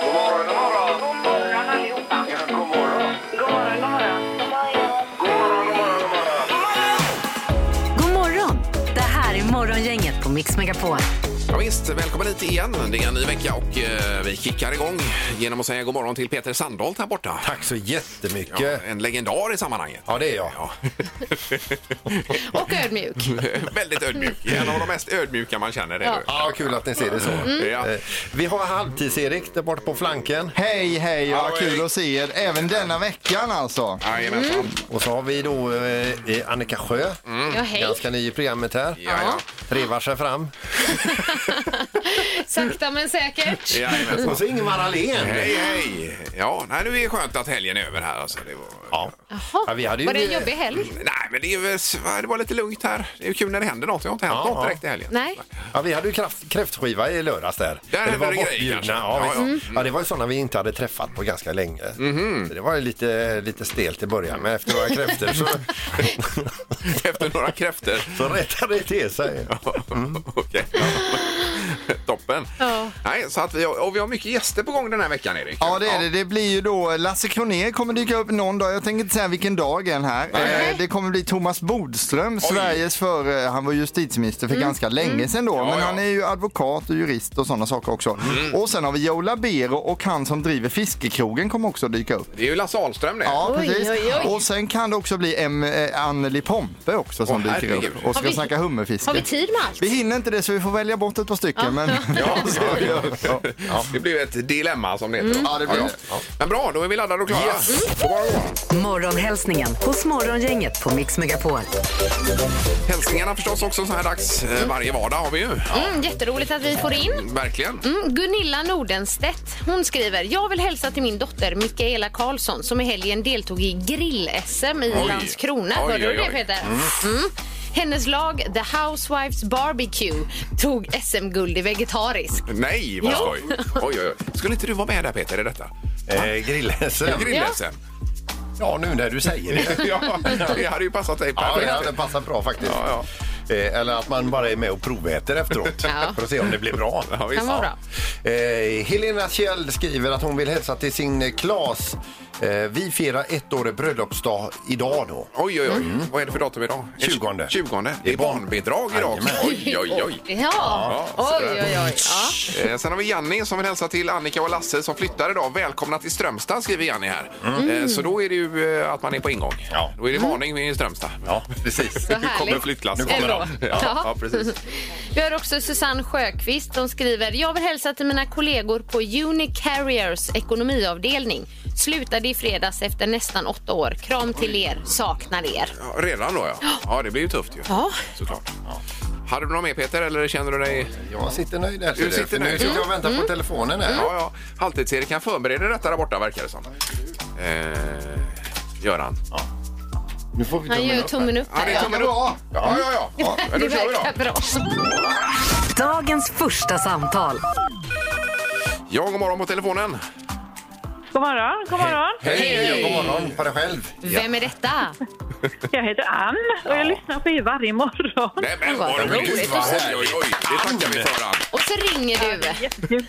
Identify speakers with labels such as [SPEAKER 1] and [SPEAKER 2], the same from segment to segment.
[SPEAKER 1] God morgon, god morgon.
[SPEAKER 2] God morgon allihopa.
[SPEAKER 1] Ja, god morgon.
[SPEAKER 2] God morgon, god morgon.
[SPEAKER 1] God morgon, god morgon, god morgon.
[SPEAKER 3] God morgon! Det här är Morgongänget på Mix Megapol.
[SPEAKER 4] Ja, visst, välkommen hit igen. Det är en ny vecka och eh, vi kickar igång genom att säga god morgon till Peter Sandholt här borta.
[SPEAKER 5] Tack så jättemycket.
[SPEAKER 4] Ja,
[SPEAKER 5] Ja,
[SPEAKER 4] en legendar i sammanhanget.
[SPEAKER 5] det är jag.
[SPEAKER 6] Och ödmjuk. Mm.
[SPEAKER 4] Väldigt ödmjuk. En av de mest ödmjuka man känner. Är
[SPEAKER 6] Ja. Mm.
[SPEAKER 4] du.
[SPEAKER 5] Ja, kul att ni ser det så.
[SPEAKER 4] Ja.
[SPEAKER 5] Eh, Vi har halvtids-Erik där borta på flanken.
[SPEAKER 7] Hej, hej,
[SPEAKER 4] Hallå,
[SPEAKER 7] vad kul
[SPEAKER 4] Erik.
[SPEAKER 7] att se er. Även denna veckan alltså.
[SPEAKER 4] Jajamensan.
[SPEAKER 6] Mm.
[SPEAKER 5] Och så har vi då eh, eh, Annika Sjö,
[SPEAKER 6] Ja, hej.
[SPEAKER 5] ganska ny i programmet här.
[SPEAKER 4] Mm. Ja, ja.
[SPEAKER 5] Revar sig fram.
[SPEAKER 6] Sakta men säkert.
[SPEAKER 4] Jajamensan.
[SPEAKER 5] Och så Ingemar Ahlén.
[SPEAKER 4] Hej, hej! Ja, nej, nu är det skönt att helgen är över här. Alltså, det var...
[SPEAKER 5] Ja.
[SPEAKER 6] Jaha,
[SPEAKER 5] Ja, vi hade ju-
[SPEAKER 6] var det en jobbig helg?
[SPEAKER 4] Nej, men det, är, väl- det var lite lugnt här. Det är kul när det händer något. Det har inte hänt
[SPEAKER 5] Ja,
[SPEAKER 4] något
[SPEAKER 5] ja.
[SPEAKER 4] direkt i helgen.
[SPEAKER 6] Nej.
[SPEAKER 5] Ja, vi hade ju kraft, kräftskiva i lördags där.
[SPEAKER 4] Där
[SPEAKER 5] det
[SPEAKER 4] hände
[SPEAKER 5] var
[SPEAKER 4] det grejer
[SPEAKER 5] bortbjudna.
[SPEAKER 4] kanske.
[SPEAKER 5] Ja,
[SPEAKER 4] Ja,
[SPEAKER 5] visst.
[SPEAKER 4] ja.
[SPEAKER 5] Mm. ja, det var ju sådana vi inte hade träffat på ganska länge.
[SPEAKER 4] Mhm.
[SPEAKER 5] Så det var ju lite, lite stelt i början, men efter några kräftor så,
[SPEAKER 4] Efter några kräftor.
[SPEAKER 5] så rättade det till sig.
[SPEAKER 4] Okej. Mm. Toppen.
[SPEAKER 6] Ja.
[SPEAKER 4] Nej, så att vi, har- och vi har mycket gäster på gång den här veckan, Erik.
[SPEAKER 7] Ja det är det. Det blir ju då eh, Lasse Kronér kommer dyka upp någon dag. Jag tänker inte säga vilken dag än här.
[SPEAKER 4] Nej.
[SPEAKER 7] Eh, det kommer bli Thomas Bodström, Sveriges för eh, han var justitieminister för ganska länge sedan då. men
[SPEAKER 4] Mm. ja. Mm.
[SPEAKER 7] han är ju advokat och jurist och sådana saker också. Och sen har vi Joe Labero och han som driver fiskekrogen kommer också dyka upp.
[SPEAKER 4] Det är ju Lasse Ahlström det.
[SPEAKER 7] Ja,
[SPEAKER 6] Oj,
[SPEAKER 7] precis.
[SPEAKER 6] oj, oj.
[SPEAKER 7] Och sen kan det också bli M- eh, Anneli Pompe också som
[SPEAKER 4] Åh,
[SPEAKER 7] dyker
[SPEAKER 4] herregud.
[SPEAKER 7] upp och
[SPEAKER 6] Har
[SPEAKER 7] ska
[SPEAKER 6] vi-
[SPEAKER 7] snacka hummerfiske.
[SPEAKER 6] Har vi tid med allt?
[SPEAKER 7] Vi hinner inte det så vi får välja bort ett par stycken. Men...
[SPEAKER 4] Ja, ja, ja. Det blev ett dilemma som det heter. då.
[SPEAKER 7] Ja, det blir det.
[SPEAKER 4] Ja. Men bra, då är vi laddade och klara. Mm. God morgon, god morgon.
[SPEAKER 3] Morgonhälsningen hos Morgongänget på Mix Megapol.
[SPEAKER 4] Hälsningarna förstås också så här dags. eh, Varje vardag har vi ju.
[SPEAKER 6] Mm, jätteroligt att vi får in.
[SPEAKER 4] Verkligen.
[SPEAKER 6] Mm, Gunilla Nordenstedt hon skriver Jag vill hälsa till min dotter Mikaela Karlsson som i helgen deltog i grill-SM i
[SPEAKER 4] Oj.
[SPEAKER 6] Landskrona.
[SPEAKER 4] Oj,
[SPEAKER 6] Hörde du
[SPEAKER 4] oj,
[SPEAKER 6] det
[SPEAKER 4] oj.
[SPEAKER 6] Peter? Mm. Hennes lag The Housewives Barbecue tog SM-guld i vegetariskt.
[SPEAKER 4] Nej, vad
[SPEAKER 6] Jo.
[SPEAKER 4] skoj. Oj, oj, oj. Skulle inte du vara med där Peter i detta?
[SPEAKER 5] Eh, Grillhässen.
[SPEAKER 4] Grill-SM.
[SPEAKER 5] Ja, nu när du säger det.
[SPEAKER 4] Ja, det hade ju passat dig
[SPEAKER 5] Ja, det
[SPEAKER 4] perfekt.
[SPEAKER 5] hade passat bra faktiskt.
[SPEAKER 4] Ja,
[SPEAKER 5] Eh, Eller att man bara är med och proväter efteråt
[SPEAKER 6] Ja.
[SPEAKER 5] för att se om det blir bra.
[SPEAKER 4] Ja, visst.
[SPEAKER 6] Kan vara bra.
[SPEAKER 5] Eh, Helena Kjell skriver att hon vill hälsa till sin eh, Klas. Eh, vi firar ettårig bröllopsdag idag då.
[SPEAKER 4] Oj, oj, oj. Vad är det för datum idag?
[SPEAKER 5] 20.
[SPEAKER 4] 20. Det är barnbidrag idag också. Oj, oj, oj.
[SPEAKER 6] Ja,
[SPEAKER 4] så
[SPEAKER 6] oj,
[SPEAKER 4] där.
[SPEAKER 6] oj, oj. Ja.
[SPEAKER 4] Eh, sen har vi Janni som vill hälsa till Annika och Lasse som flyttar idag. Välkomna till Strömstad skriver Janni här. Eh, så då är det ju eh, att man är på ingång.
[SPEAKER 5] Ja.
[SPEAKER 4] Då är det varning i Strömstad.
[SPEAKER 5] Ja, precis.
[SPEAKER 6] Vad
[SPEAKER 4] Nu kommer
[SPEAKER 6] härligt.
[SPEAKER 4] flyttlassen.
[SPEAKER 5] Nu kommer
[SPEAKER 6] Ändå.
[SPEAKER 5] de.
[SPEAKER 4] Ja,
[SPEAKER 6] Ja.
[SPEAKER 4] ja, precis.
[SPEAKER 6] Vi har också Susanne Sjöqvist. Hon skriver Jag vill hälsa till mina kollegor på Unicarriers ekonomiavdelning. Slutade i fredags efter nästan åtta år. Kram till er. Saknar er.
[SPEAKER 4] Ja, redan då ja. Ja, det blir ju tufft ju.
[SPEAKER 6] Ja.
[SPEAKER 4] Såklart. Hade du något mer Peter eller känner du dig...
[SPEAKER 5] Jag sitter nöjd här. ser
[SPEAKER 4] Du sitter
[SPEAKER 5] för
[SPEAKER 4] nöjd,
[SPEAKER 5] Nu sitter jag och
[SPEAKER 6] Mm.
[SPEAKER 5] väntar på telefonen här.
[SPEAKER 4] Ja, ja. Halvtids-Erik kan förbereda detta där borta verkar det som. Eh, Göran.
[SPEAKER 5] Nu får vi
[SPEAKER 6] Han gör tummen upp
[SPEAKER 4] Ja,
[SPEAKER 6] här.
[SPEAKER 4] det är
[SPEAKER 6] Ja,
[SPEAKER 4] tummen upp. Ja, ja, ja. ja. Men
[SPEAKER 6] det
[SPEAKER 4] då kör vi då.
[SPEAKER 6] verkar bra.
[SPEAKER 3] Dagens första samtal.
[SPEAKER 4] Ja, god morgon på telefonen.
[SPEAKER 2] God morgon, god morgon.
[SPEAKER 5] Hej och god morgon på dig själv.
[SPEAKER 6] Vem är detta?
[SPEAKER 2] Jag heter Ann och jag lyssnar på er varje morgon.
[SPEAKER 4] Nej, men
[SPEAKER 6] Vad
[SPEAKER 4] vad
[SPEAKER 6] roligt
[SPEAKER 4] roligt.
[SPEAKER 6] att se.
[SPEAKER 4] Oj, oj, oj. Det tackar vi för. Ann.
[SPEAKER 6] Och så ringer du.
[SPEAKER 2] Jättekul.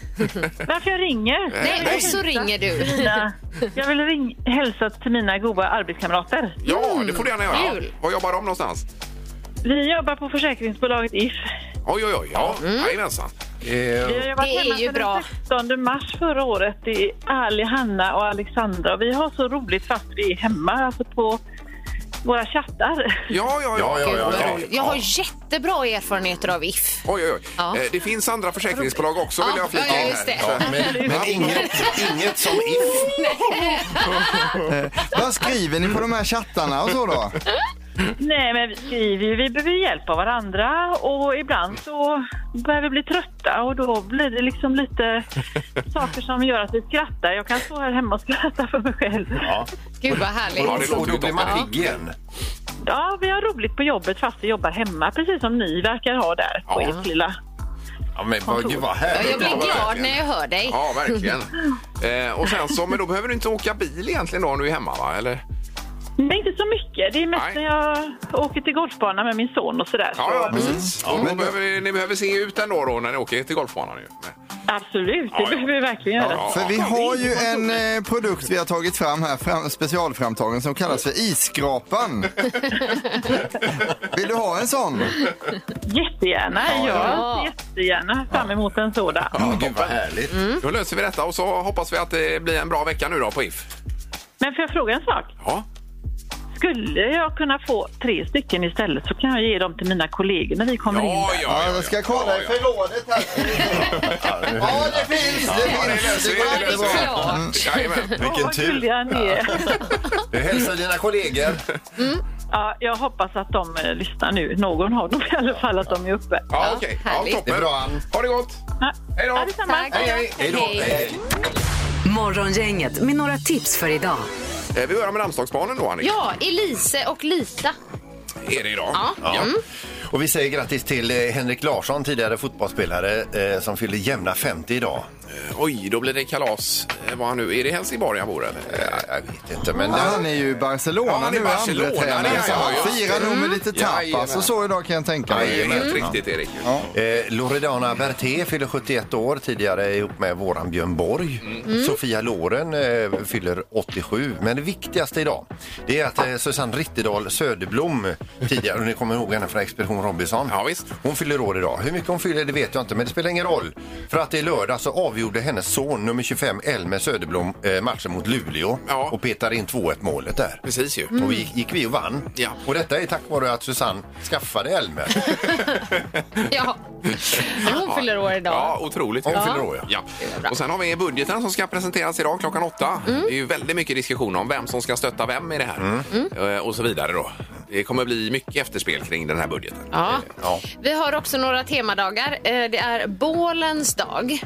[SPEAKER 2] Varför jag ringer?
[SPEAKER 6] Nej, och så ringer du.
[SPEAKER 2] Mina- Jag vill ring, hälsa till mina goda arbetskamrater.
[SPEAKER 4] Ja, det får du gärna göra.
[SPEAKER 6] Mm. kul.
[SPEAKER 4] Var jobbar de någonstans?
[SPEAKER 2] Vi jobbar på försäkringsbolaget If.
[SPEAKER 4] Oj, oj, oj. Ja,
[SPEAKER 6] Mm.
[SPEAKER 4] jajamensan.
[SPEAKER 5] Eh,
[SPEAKER 2] Vi har jobbat
[SPEAKER 6] Det är
[SPEAKER 2] hemma
[SPEAKER 6] ju
[SPEAKER 2] sedan
[SPEAKER 6] bra.
[SPEAKER 2] den 16 mars förra året i Ali, Hanna och Alexandra. Och vi har så roligt fast vi är hemma, alltså på våra chattar.
[SPEAKER 4] Ja, ja, ja.
[SPEAKER 5] Ja, ja,
[SPEAKER 6] Gud,
[SPEAKER 5] ja,
[SPEAKER 6] vad
[SPEAKER 5] ja.
[SPEAKER 6] roligt. Jag har jättebra erfarenheter av If.
[SPEAKER 4] Oj, oj, oj.
[SPEAKER 6] Ja.
[SPEAKER 4] Eh, Det finns andra försäkringsbolag också vill
[SPEAKER 6] Ja,
[SPEAKER 4] jag flika
[SPEAKER 6] ja,
[SPEAKER 4] in
[SPEAKER 6] just det.
[SPEAKER 4] här.
[SPEAKER 5] Ja, men men inget, inget som if.
[SPEAKER 7] Vad skriver ni på de här chattarna och så då?
[SPEAKER 2] Nej, men vi skriver ju. Vi behöver ju hjälp av varandra och ibland så börjar vi bli trötta och då blir det liksom lite saker som gör att vi skrattar. Jag kan stå här hemma och skratta för mig själv.
[SPEAKER 5] Ja.
[SPEAKER 6] Gud, vad härligt.
[SPEAKER 4] Ja, det låter
[SPEAKER 5] Och då blir
[SPEAKER 4] toppen.
[SPEAKER 5] man pigg igen.
[SPEAKER 2] Ja, vi har roligt på jobbet fast vi jobbar hemma, precis som ni verkar ha där på
[SPEAKER 4] Ja.
[SPEAKER 2] ert lilla.
[SPEAKER 5] Ja, men vad, gud vad
[SPEAKER 6] Ja,
[SPEAKER 5] härligt.
[SPEAKER 6] Jag blir glad när jag hör dig.
[SPEAKER 4] Ja, verkligen. Eh, och sen så, men då behöver du inte åka bil egentligen då om du är hemma, va? Eller?
[SPEAKER 2] Det är inte så mycket. Det är mest
[SPEAKER 4] Nej.
[SPEAKER 2] när jag åker till golfbanan med min son och sådär.
[SPEAKER 4] Ja,
[SPEAKER 2] Så,
[SPEAKER 4] ja precis. Mm. Ja, men behöver, ni behöver se ut ändå då när ni åker till golfbanan. Ju.
[SPEAKER 2] absolut, det
[SPEAKER 4] Ja, ja.
[SPEAKER 2] behöver vi verkligen göra.
[SPEAKER 4] Ja.
[SPEAKER 7] För vi har ju en eh, produkt vi har tagit fram här, fram, specialframtagen, som kallas för isskrapan. Vill du ha en sån?
[SPEAKER 2] Jättegärna.
[SPEAKER 7] Ja,
[SPEAKER 2] jag
[SPEAKER 6] ja.
[SPEAKER 2] ser jättegärna fram emot en sådan.
[SPEAKER 5] Ja, gud vad härligt.
[SPEAKER 6] Mm.
[SPEAKER 4] Då löser vi detta och så hoppas vi att det blir en bra vecka nu då på If.
[SPEAKER 2] Men får jag fråga en sak?
[SPEAKER 4] Ja.
[SPEAKER 2] Skulle jag kunna få tre stycken istället så kan jag ge dem till mina kollegor när vi
[SPEAKER 6] Mm.
[SPEAKER 2] kommer in
[SPEAKER 4] Ja,
[SPEAKER 2] där.
[SPEAKER 4] ja,
[SPEAKER 7] Ja, jag ska kolla i förrådet här. Ja, det finns, det finns.
[SPEAKER 4] löser
[SPEAKER 7] Det
[SPEAKER 4] vi,
[SPEAKER 7] går
[SPEAKER 4] det
[SPEAKER 6] det är
[SPEAKER 7] jättebra.
[SPEAKER 4] löser vi.
[SPEAKER 6] klart.
[SPEAKER 4] Jajamän.
[SPEAKER 2] Åh, vad gulliga ni är.
[SPEAKER 5] Du hälsar dina kollegor.
[SPEAKER 2] Ja, jag hoppas att de eh, lyssnar nu. Någon av dem i alla fall, att de är uppe.
[SPEAKER 4] Ja, okej. Ja,
[SPEAKER 6] härligt.
[SPEAKER 4] toppen.
[SPEAKER 5] Det är bra, Ann.
[SPEAKER 4] Ha det gott.
[SPEAKER 2] Ja,
[SPEAKER 4] Hej då.
[SPEAKER 2] ja, detsamma.
[SPEAKER 6] Tack.
[SPEAKER 4] Hej, hej.
[SPEAKER 5] Hej då.
[SPEAKER 6] Hej.
[SPEAKER 5] Hej.
[SPEAKER 3] Morgongänget med några tips för idag.
[SPEAKER 4] Eh, Vi börjar med namnsdagsbarnen då, Annika.
[SPEAKER 6] Ja, Elise och Lita.
[SPEAKER 4] Är det idag?
[SPEAKER 6] Ja. Mm.
[SPEAKER 5] Och vi säger grattis till eh, Henrik Larsson, tidigare fotbollsspelare eh, som fyller jämna 50 idag.
[SPEAKER 4] Oj, då blir det kalas. Eh, Var han nu? Är det Helsingborg han bor eller? Eh,
[SPEAKER 5] Ja, jag vet inte, men...
[SPEAKER 7] Han är ju i Barcelona
[SPEAKER 4] Ja, han är i
[SPEAKER 7] nu,
[SPEAKER 4] Barcelona,
[SPEAKER 7] andra
[SPEAKER 4] det är
[SPEAKER 7] tränaren.
[SPEAKER 4] jag,
[SPEAKER 7] Så han
[SPEAKER 4] ja, just
[SPEAKER 7] firar nog med lite tapas
[SPEAKER 4] Jajamän.
[SPEAKER 7] och så idag kan jag tänka
[SPEAKER 4] Nej,
[SPEAKER 7] mig.
[SPEAKER 4] helt riktigt Erik.
[SPEAKER 5] Eh, Loredana Berté fyller 71 år, tidigare ihop med våran Björn Borg.
[SPEAKER 4] Mm.
[SPEAKER 5] Sofia Loren eh, fyller 87. Men det viktigaste idag det är att eh, Susanne Rittedal Söderblom, tidigare, och ni kommer ihåg henne från Expedition Robinson.
[SPEAKER 4] Ja, visst.
[SPEAKER 5] Hon fyller år idag. Hur mycket hon fyller det vet jag inte, men det spelar ingen roll. För att det är lördag så avgjorde hennes son nummer 25, Elmer Söderblom, eh, matchen mot Luleå
[SPEAKER 4] Ja.
[SPEAKER 5] och petar in 2-1 målet där.
[SPEAKER 4] Precis ju.
[SPEAKER 5] Och vi gick, gick vi och vann.
[SPEAKER 4] Ja.
[SPEAKER 5] Och detta är tack vare att Susanne skaffade Elmer.
[SPEAKER 6] Ja. Hon fyller år idag.
[SPEAKER 4] Ja, otroligt.
[SPEAKER 5] Hon fyller år,
[SPEAKER 4] ja.
[SPEAKER 6] bra. Mm.
[SPEAKER 4] Och sen har vi budgeten som ska presenteras idag klockan åtta. Det är ju väldigt mycket diskussion om vem som ska stötta vem i det här.
[SPEAKER 5] Mm.
[SPEAKER 4] Eh, Och så vidare då. Det kommer bli mycket efterspel kring den här budgeten.
[SPEAKER 6] Ja.
[SPEAKER 5] Ja.
[SPEAKER 6] Vi har också några temadagar. Eh, Det är bålens dag.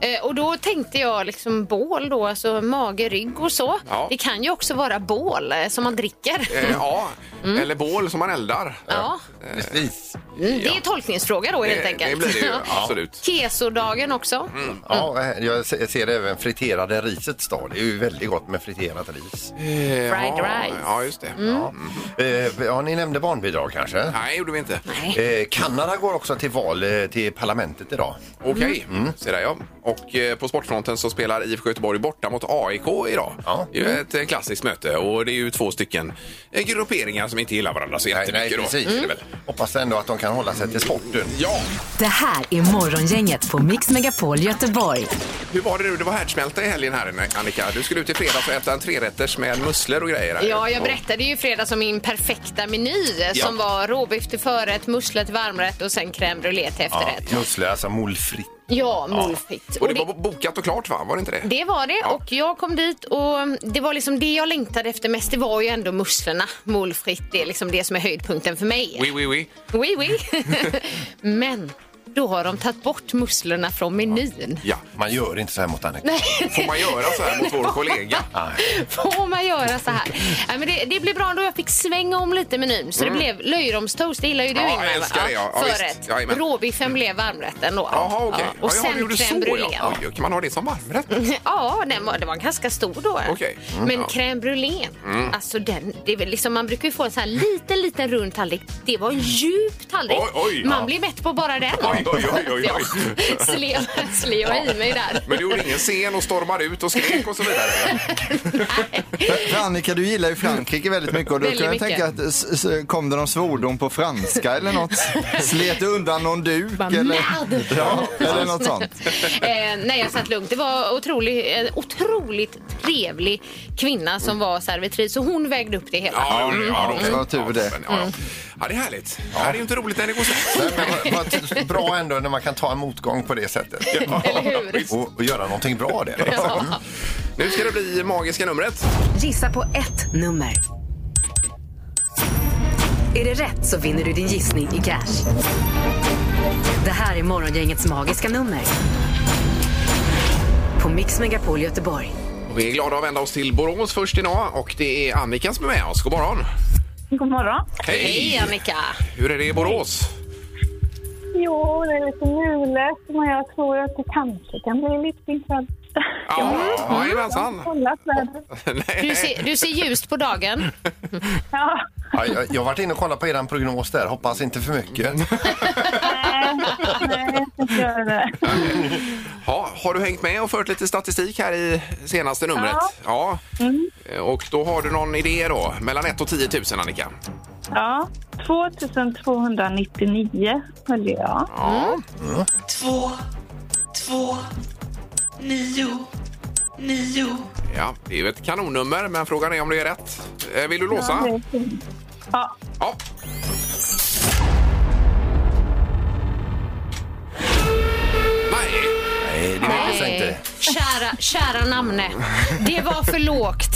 [SPEAKER 6] Eh, Och då tänkte jag liksom bål då, alltså mage, rygg och så.
[SPEAKER 4] Ja.
[SPEAKER 6] Det kan ju också vara bål eh, som man dricker.
[SPEAKER 4] Eh, Ja, eller bål som man eldar.
[SPEAKER 6] Mm. Ja.
[SPEAKER 5] Precis.
[SPEAKER 6] Mm, Det är tolkningsfråga då helt
[SPEAKER 4] Eh, Det,
[SPEAKER 6] enkelt.
[SPEAKER 4] det blir det ju, absolut. Mm.
[SPEAKER 6] Kesodagen också.
[SPEAKER 5] Ja, eh, jag se- ser även friterade risets dag. Det är ju väldigt gott med friterat ris. Mm.
[SPEAKER 4] Eh,
[SPEAKER 6] Fried
[SPEAKER 4] ja,
[SPEAKER 6] rice. Mm.
[SPEAKER 4] Ja, just det. Ja.
[SPEAKER 5] Eh, ja, ni nämnde barnbidrag kanske?
[SPEAKER 4] Nej, gjorde vi inte.
[SPEAKER 6] Nej.
[SPEAKER 5] Eh, Kanada går också till val eh, till parlamentet idag.
[SPEAKER 4] Okej, se där ja. Och eh, på sportfronten så spelar IFK Göteborg borta mot AIK idag.
[SPEAKER 5] Ja.
[SPEAKER 4] Det är ju ett eh, klassiskt möte och det är ju två stycken eh, grupperingar som inte gillar varandra så jättemycket då. Mm.
[SPEAKER 5] precis.
[SPEAKER 4] Är det väl?
[SPEAKER 5] Hoppas ändå att de kan hålla sig till sporten.
[SPEAKER 4] Ja,
[SPEAKER 3] Det här är Morgongänget på Mix Megapol Göteborg.
[SPEAKER 4] hur var det nu? Det var härdsmälta i helgen här eh, Annika. Du skulle ut i fredags och äta en trerätters med musslor och grejer. Här.
[SPEAKER 6] Ja, jag berättade ju i fredags om min perfekta meny eh,
[SPEAKER 4] Ja.
[SPEAKER 6] som var råbiff till förrätt, musslor till varmrätt och sen crème brûlée till
[SPEAKER 5] Ja,
[SPEAKER 6] efterrätt.
[SPEAKER 5] Musslor, alltså moule frites.
[SPEAKER 6] Ja, mulfitt.
[SPEAKER 4] Och det var bokat och klart va? Var det inte det?
[SPEAKER 6] Det var det och jag kom dit och det var liksom det jag längtade efter mest. Det var ju ändå musslorna. Molfritt, det är liksom det som är höjdpunkten för mig.
[SPEAKER 4] Oui, oui, oui.
[SPEAKER 6] Oui, oui. Men då har de tagit bort musslorna från menyn.
[SPEAKER 4] Ja.
[SPEAKER 5] Man gör inte så här mot Annika.
[SPEAKER 4] Får man göra så här mot vår kollega?
[SPEAKER 6] Får man göra så här? Nej, men det, det blev bra ändå. Jag fick svänga om lite menyn. Så det blev löjromstoast. Det gillar ju du
[SPEAKER 4] Mm. Ja, jag
[SPEAKER 6] Ingmar. va?
[SPEAKER 4] älskar det, ja. Ja, visst.
[SPEAKER 6] Förrätt.
[SPEAKER 4] Jajamän.
[SPEAKER 6] Råbiffen blev varmrätten då.
[SPEAKER 4] Jaha, okej.
[SPEAKER 6] ja. Och
[SPEAKER 4] Ja,
[SPEAKER 6] sen
[SPEAKER 4] du gjorde
[SPEAKER 6] crème
[SPEAKER 4] så,
[SPEAKER 6] brûlée.
[SPEAKER 4] ja. Oj, Kan man ha det som varmrätt?
[SPEAKER 6] Ja, den var, det var ganska stor då.
[SPEAKER 4] Okej. Mm,
[SPEAKER 6] Men
[SPEAKER 4] ja. Mm.
[SPEAKER 6] crème brûlée, alltså den, det är väl liksom, man brukar ju få en sån här liten, liten rund tallrik. Det var en djup tallrik.
[SPEAKER 4] Oj, oj,
[SPEAKER 6] man
[SPEAKER 4] ja.
[SPEAKER 6] blir mätt på bara den.
[SPEAKER 4] Oj, oj, oj, oj, oj.
[SPEAKER 6] Ja, slev, slev jag i mig där.
[SPEAKER 4] Men du gjorde ingen scen och stormar ut och skrek och så vidare?
[SPEAKER 7] För Annika, du gillar ju Frankrike väldigt mycket och då
[SPEAKER 6] Väldigt
[SPEAKER 7] kan jag
[SPEAKER 6] mycket.
[SPEAKER 7] tänka att s- s- kom det någon svordom på franska eller något? Slet du undan någon duk eller,
[SPEAKER 6] Mad!
[SPEAKER 7] ja, eller något sånt?
[SPEAKER 6] eh, nej, jag satt lugnt. Det var otrolig, en otroligt trevlig kvinna som var servitris. Så hon vägde upp det hela.
[SPEAKER 4] Ja, ja, ja,
[SPEAKER 7] Det var tur det.
[SPEAKER 4] men, Mm. Ja, ja. ja, det är härligt. Det här är ju inte roligt när det går snett.
[SPEAKER 5] Nej, men vad- vad Bra ändå när man kan ta en motgång på det sättet.
[SPEAKER 6] Eller hur?
[SPEAKER 5] Och, och göra någonting bra av det. liksom.
[SPEAKER 4] Nu ska det bli magiska numret.
[SPEAKER 3] Gissa på ett nummer. Är det rätt så vinner du din gissning i cash. Det här är Morgongängets magiska nummer. På Mix Megapol Göteborg.
[SPEAKER 4] Och vi är glada att vända oss till Borås först idag och det är Annika som är med oss. God morgon!
[SPEAKER 2] God morgon.
[SPEAKER 6] Hej, Annika!
[SPEAKER 4] Hur är det i Borås?
[SPEAKER 8] Jo, det är lite mulet, men jag tror att det kanske kan bli lite intressant.
[SPEAKER 4] Ja, ja, jajamensan.
[SPEAKER 2] Kollat vädret.
[SPEAKER 6] Du ser, du ser ljust på dagen.
[SPEAKER 2] Ja.
[SPEAKER 5] Ja, jag, jag har varit inne och kollat på er prognos där. Hoppas inte för mycket.
[SPEAKER 2] Nej, nej, jag ska inte göra det.
[SPEAKER 4] Ja, har du hängt med och fört lite statistik här i senaste numret? Ja.
[SPEAKER 6] Mm.
[SPEAKER 4] Eh, Och då har du någon idé då? Mellan 1 och 10 000 Annika?
[SPEAKER 2] Ja, 2299 höll jag.
[SPEAKER 4] Ja.
[SPEAKER 8] två, två, nio, nio.
[SPEAKER 4] ja, det är ju ett kanonnummer men frågan är om det är rätt. Eh, Vill du låsa?
[SPEAKER 2] Ja,
[SPEAKER 4] Ja. Nej,
[SPEAKER 5] Nej, det märktes inte.
[SPEAKER 6] Kära, kära namne. Det var för lågt.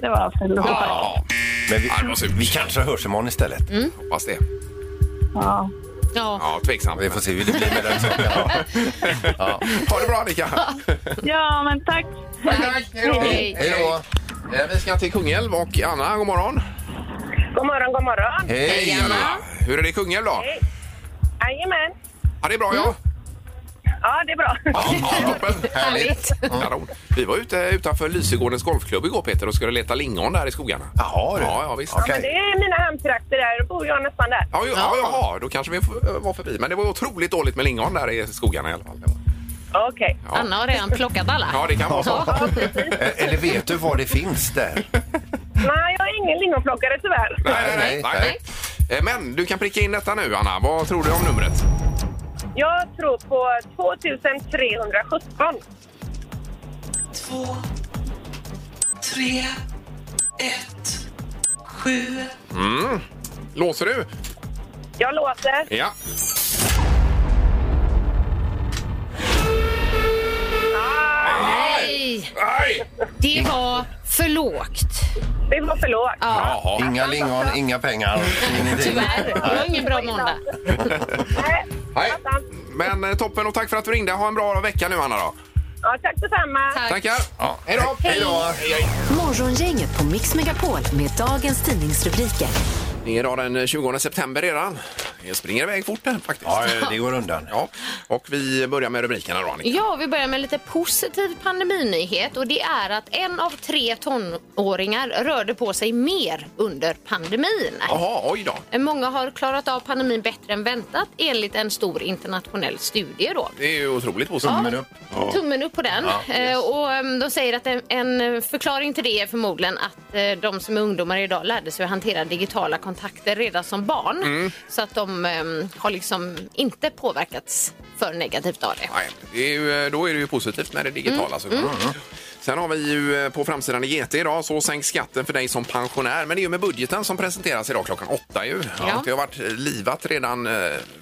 [SPEAKER 2] det var för lågt.
[SPEAKER 4] ja,
[SPEAKER 5] Men vi,
[SPEAKER 4] det var surt.
[SPEAKER 5] vi kanske hörs imorgon istället.
[SPEAKER 4] hoppas det.
[SPEAKER 2] Ja.
[SPEAKER 6] Ja.
[SPEAKER 4] Ja, tveksamt.
[SPEAKER 5] Vi får se hur det blir med den saken. Ja. Ja.
[SPEAKER 4] Ha det bra Annika!
[SPEAKER 2] ja, men tack.
[SPEAKER 6] Tack. Hej.
[SPEAKER 5] Hej då!
[SPEAKER 4] Eh, Vi ska till Kungälv och Anna, god morgon.
[SPEAKER 9] God morgon, god morgon.
[SPEAKER 5] Hej!
[SPEAKER 4] Anna. Hur är det i Kungälv då?
[SPEAKER 9] Jajamän.
[SPEAKER 4] Ja, det är bra ja.
[SPEAKER 9] Ja, det är bra.
[SPEAKER 4] Ja, ja, toppen.
[SPEAKER 6] Härligt.
[SPEAKER 4] Kanon. Vi var ute utanför Lysegårdens golfklubb igår Peter och skulle leta lingon där i skogarna.
[SPEAKER 5] Jaha du.
[SPEAKER 4] Ja, ja visst.
[SPEAKER 5] Okej.
[SPEAKER 9] Men det är mina hemtrakter där. Då bor jag nästan där.
[SPEAKER 4] Ja, ju- ja, jaha, då kanske vi f- var förbi. Men det var otroligt dåligt med lingon där i skogarna i alla fall.
[SPEAKER 9] Okej.
[SPEAKER 4] Ja.
[SPEAKER 6] Anna har redan plockat
[SPEAKER 4] Ja,
[SPEAKER 6] alla.
[SPEAKER 4] det kan vara så.
[SPEAKER 5] Eh, Eller vet du var det finns där?
[SPEAKER 9] Nej, jag är ingen lingonplockare tyvärr.
[SPEAKER 4] Nej, nej, nej. nej. Eh, Men du kan pricka in detta nu, Anna. Vad tror du om numret?
[SPEAKER 9] Jag tror på 2317.
[SPEAKER 8] Två, tre, ett, sju.
[SPEAKER 4] Låser du?
[SPEAKER 9] Jag låter.
[SPEAKER 4] Ja.
[SPEAKER 6] Nej,
[SPEAKER 4] Nej!
[SPEAKER 6] det var för lågt.
[SPEAKER 9] Det var för lågt.
[SPEAKER 4] Jaha.
[SPEAKER 5] Inga lingon, inga pengar, ingenting.
[SPEAKER 6] Tyvärr. Det var ingen bra måndag.
[SPEAKER 9] Nej.
[SPEAKER 4] Nej.
[SPEAKER 9] fattar.
[SPEAKER 4] Men eh, toppen och tack för att du ringde. Ha en bra vecka nu, Anna. Då.
[SPEAKER 9] Ja, tack detsamma.
[SPEAKER 6] Tack.
[SPEAKER 4] Tackar. Ja. Hej då. Hej då.
[SPEAKER 3] Morgongänget på Mix Megapol med dagens tidningsrubriker.
[SPEAKER 4] Det är idag den 20 september redan. Det springer iväg fort här faktiskt.
[SPEAKER 5] Ja, det går undan.
[SPEAKER 4] Ja, och vi börjar med rubrikerna då, Annika.
[SPEAKER 6] Ja, vi börjar med lite positiv pandeminyhet och det är att en av tre tonåringar rörde på sig mer under pandemin.
[SPEAKER 4] Jaha, oj då.
[SPEAKER 6] Många har klarat av pandemin bättre än väntat enligt en stor internationell studie. Då.
[SPEAKER 4] Det är ju otroligt positivt.
[SPEAKER 6] Tummen upp. Tummen upp på den. Eh, Och eh, de säger att en, en förklaring till det är förmodligen att eh, de som är ungdomar idag lärde sig att hantera digitala kontakter redan som barn. Så att de eh, har liksom inte påverkats för negativt av det.
[SPEAKER 4] Nej, det är ju, eh, då är det ju positivt med det digitala. såklart. Sen har vi ju eh, på framsidan i GT idag, så sänks skatten för dig som pensionär. Men det är ju med budgeten som presenteras idag klockan åtta ju.
[SPEAKER 6] Ja.
[SPEAKER 4] Och Det har varit livat redan eh,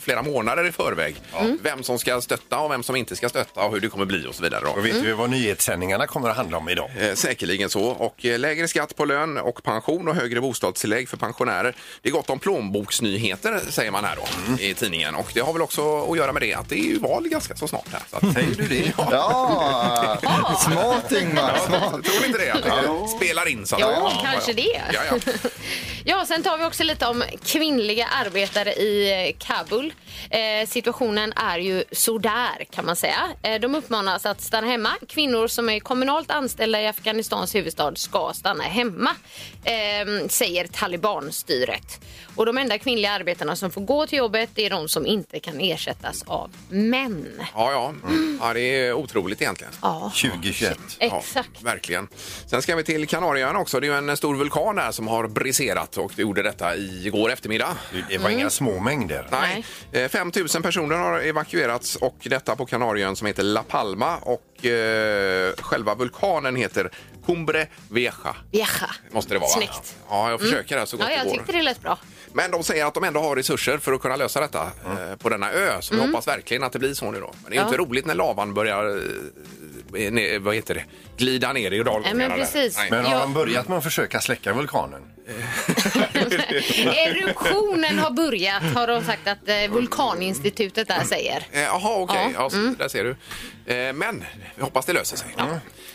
[SPEAKER 4] flera månader i förväg. Vem som ska stötta och vem som inte ska stötta och hur det kommer bli och så vidare. Då.
[SPEAKER 5] Och vet vi vad nyhetssändningarna kommer att handla om idag?
[SPEAKER 4] Eh, Säkerligen så. Och eh, lägre skatt på lön och pension och högre bostadstillägg för pensionärer. Det är gott om plånboksnyheter säger man här då i tidningen. Och det har väl också att göra med det att det är ju val ganska så snart här. Så att, säger du det? Ja.
[SPEAKER 7] Ja, smart Ingmar. Smart.
[SPEAKER 4] Tror ni inte det? Att det spelar in så att
[SPEAKER 6] Jo,
[SPEAKER 4] säga?
[SPEAKER 6] kanske det.
[SPEAKER 4] Ja, ja.
[SPEAKER 6] Ja, sen tar vi också lite om kvinnliga arbetare i eh, Kabul. Eh, situationen är ju sådär kan man säga. Eh, de uppmanas att stanna hemma. Kvinnor som är kommunalt anställda i Afghanistans huvudstad ska stanna hemma, eh, säger talibanstyret. Och de enda kvinnliga arbetarna som får gå till jobbet det är de som inte kan ersättas av män.
[SPEAKER 4] Ja, ja. Mm. ja, det är otroligt egentligen.
[SPEAKER 6] Mm. Ja,
[SPEAKER 5] 2021.
[SPEAKER 6] exakt.
[SPEAKER 4] Ja, verkligen. Sen ska vi till Kanarieön också. Det är ju en stor vulkan här som har briserat och det gjorde detta igår eftermiddag.
[SPEAKER 5] Det var inga små mängder.
[SPEAKER 4] Nej. Eh, 5 000 personer har evakuerats och detta på Kanarieön som heter La Palma och eh, själva vulkanen heter Cumbre Vieja.
[SPEAKER 6] Jaha.
[SPEAKER 4] Måste det vara. va?
[SPEAKER 6] Snyggt.
[SPEAKER 4] Ja, jag försöker här så gott
[SPEAKER 6] Ja, jag
[SPEAKER 4] det
[SPEAKER 6] tyckte
[SPEAKER 4] går.
[SPEAKER 6] det lät bra.
[SPEAKER 4] Men de säger att de ändå har resurser för att kunna lösa detta eh, på denna ö. Så vi hoppas verkligen att det blir så nu då. Men det är ju
[SPEAKER 6] Ja.
[SPEAKER 4] inte roligt när lavan börjar eh, ne, vad heter det? glida ner i
[SPEAKER 6] Nej,
[SPEAKER 4] dalgångarna.
[SPEAKER 6] men
[SPEAKER 4] där.
[SPEAKER 6] precis.
[SPEAKER 4] Nej.
[SPEAKER 5] Men har
[SPEAKER 6] Ja.
[SPEAKER 5] de börjat med att försöka släcka vulkanen?
[SPEAKER 6] Eruptionen har börjat har de sagt att eh, vulkaninstitutet där säger.
[SPEAKER 4] Eh, Jaha, okej. Ja, så- Där ser du. Eh, Men vi hoppas det löser sig.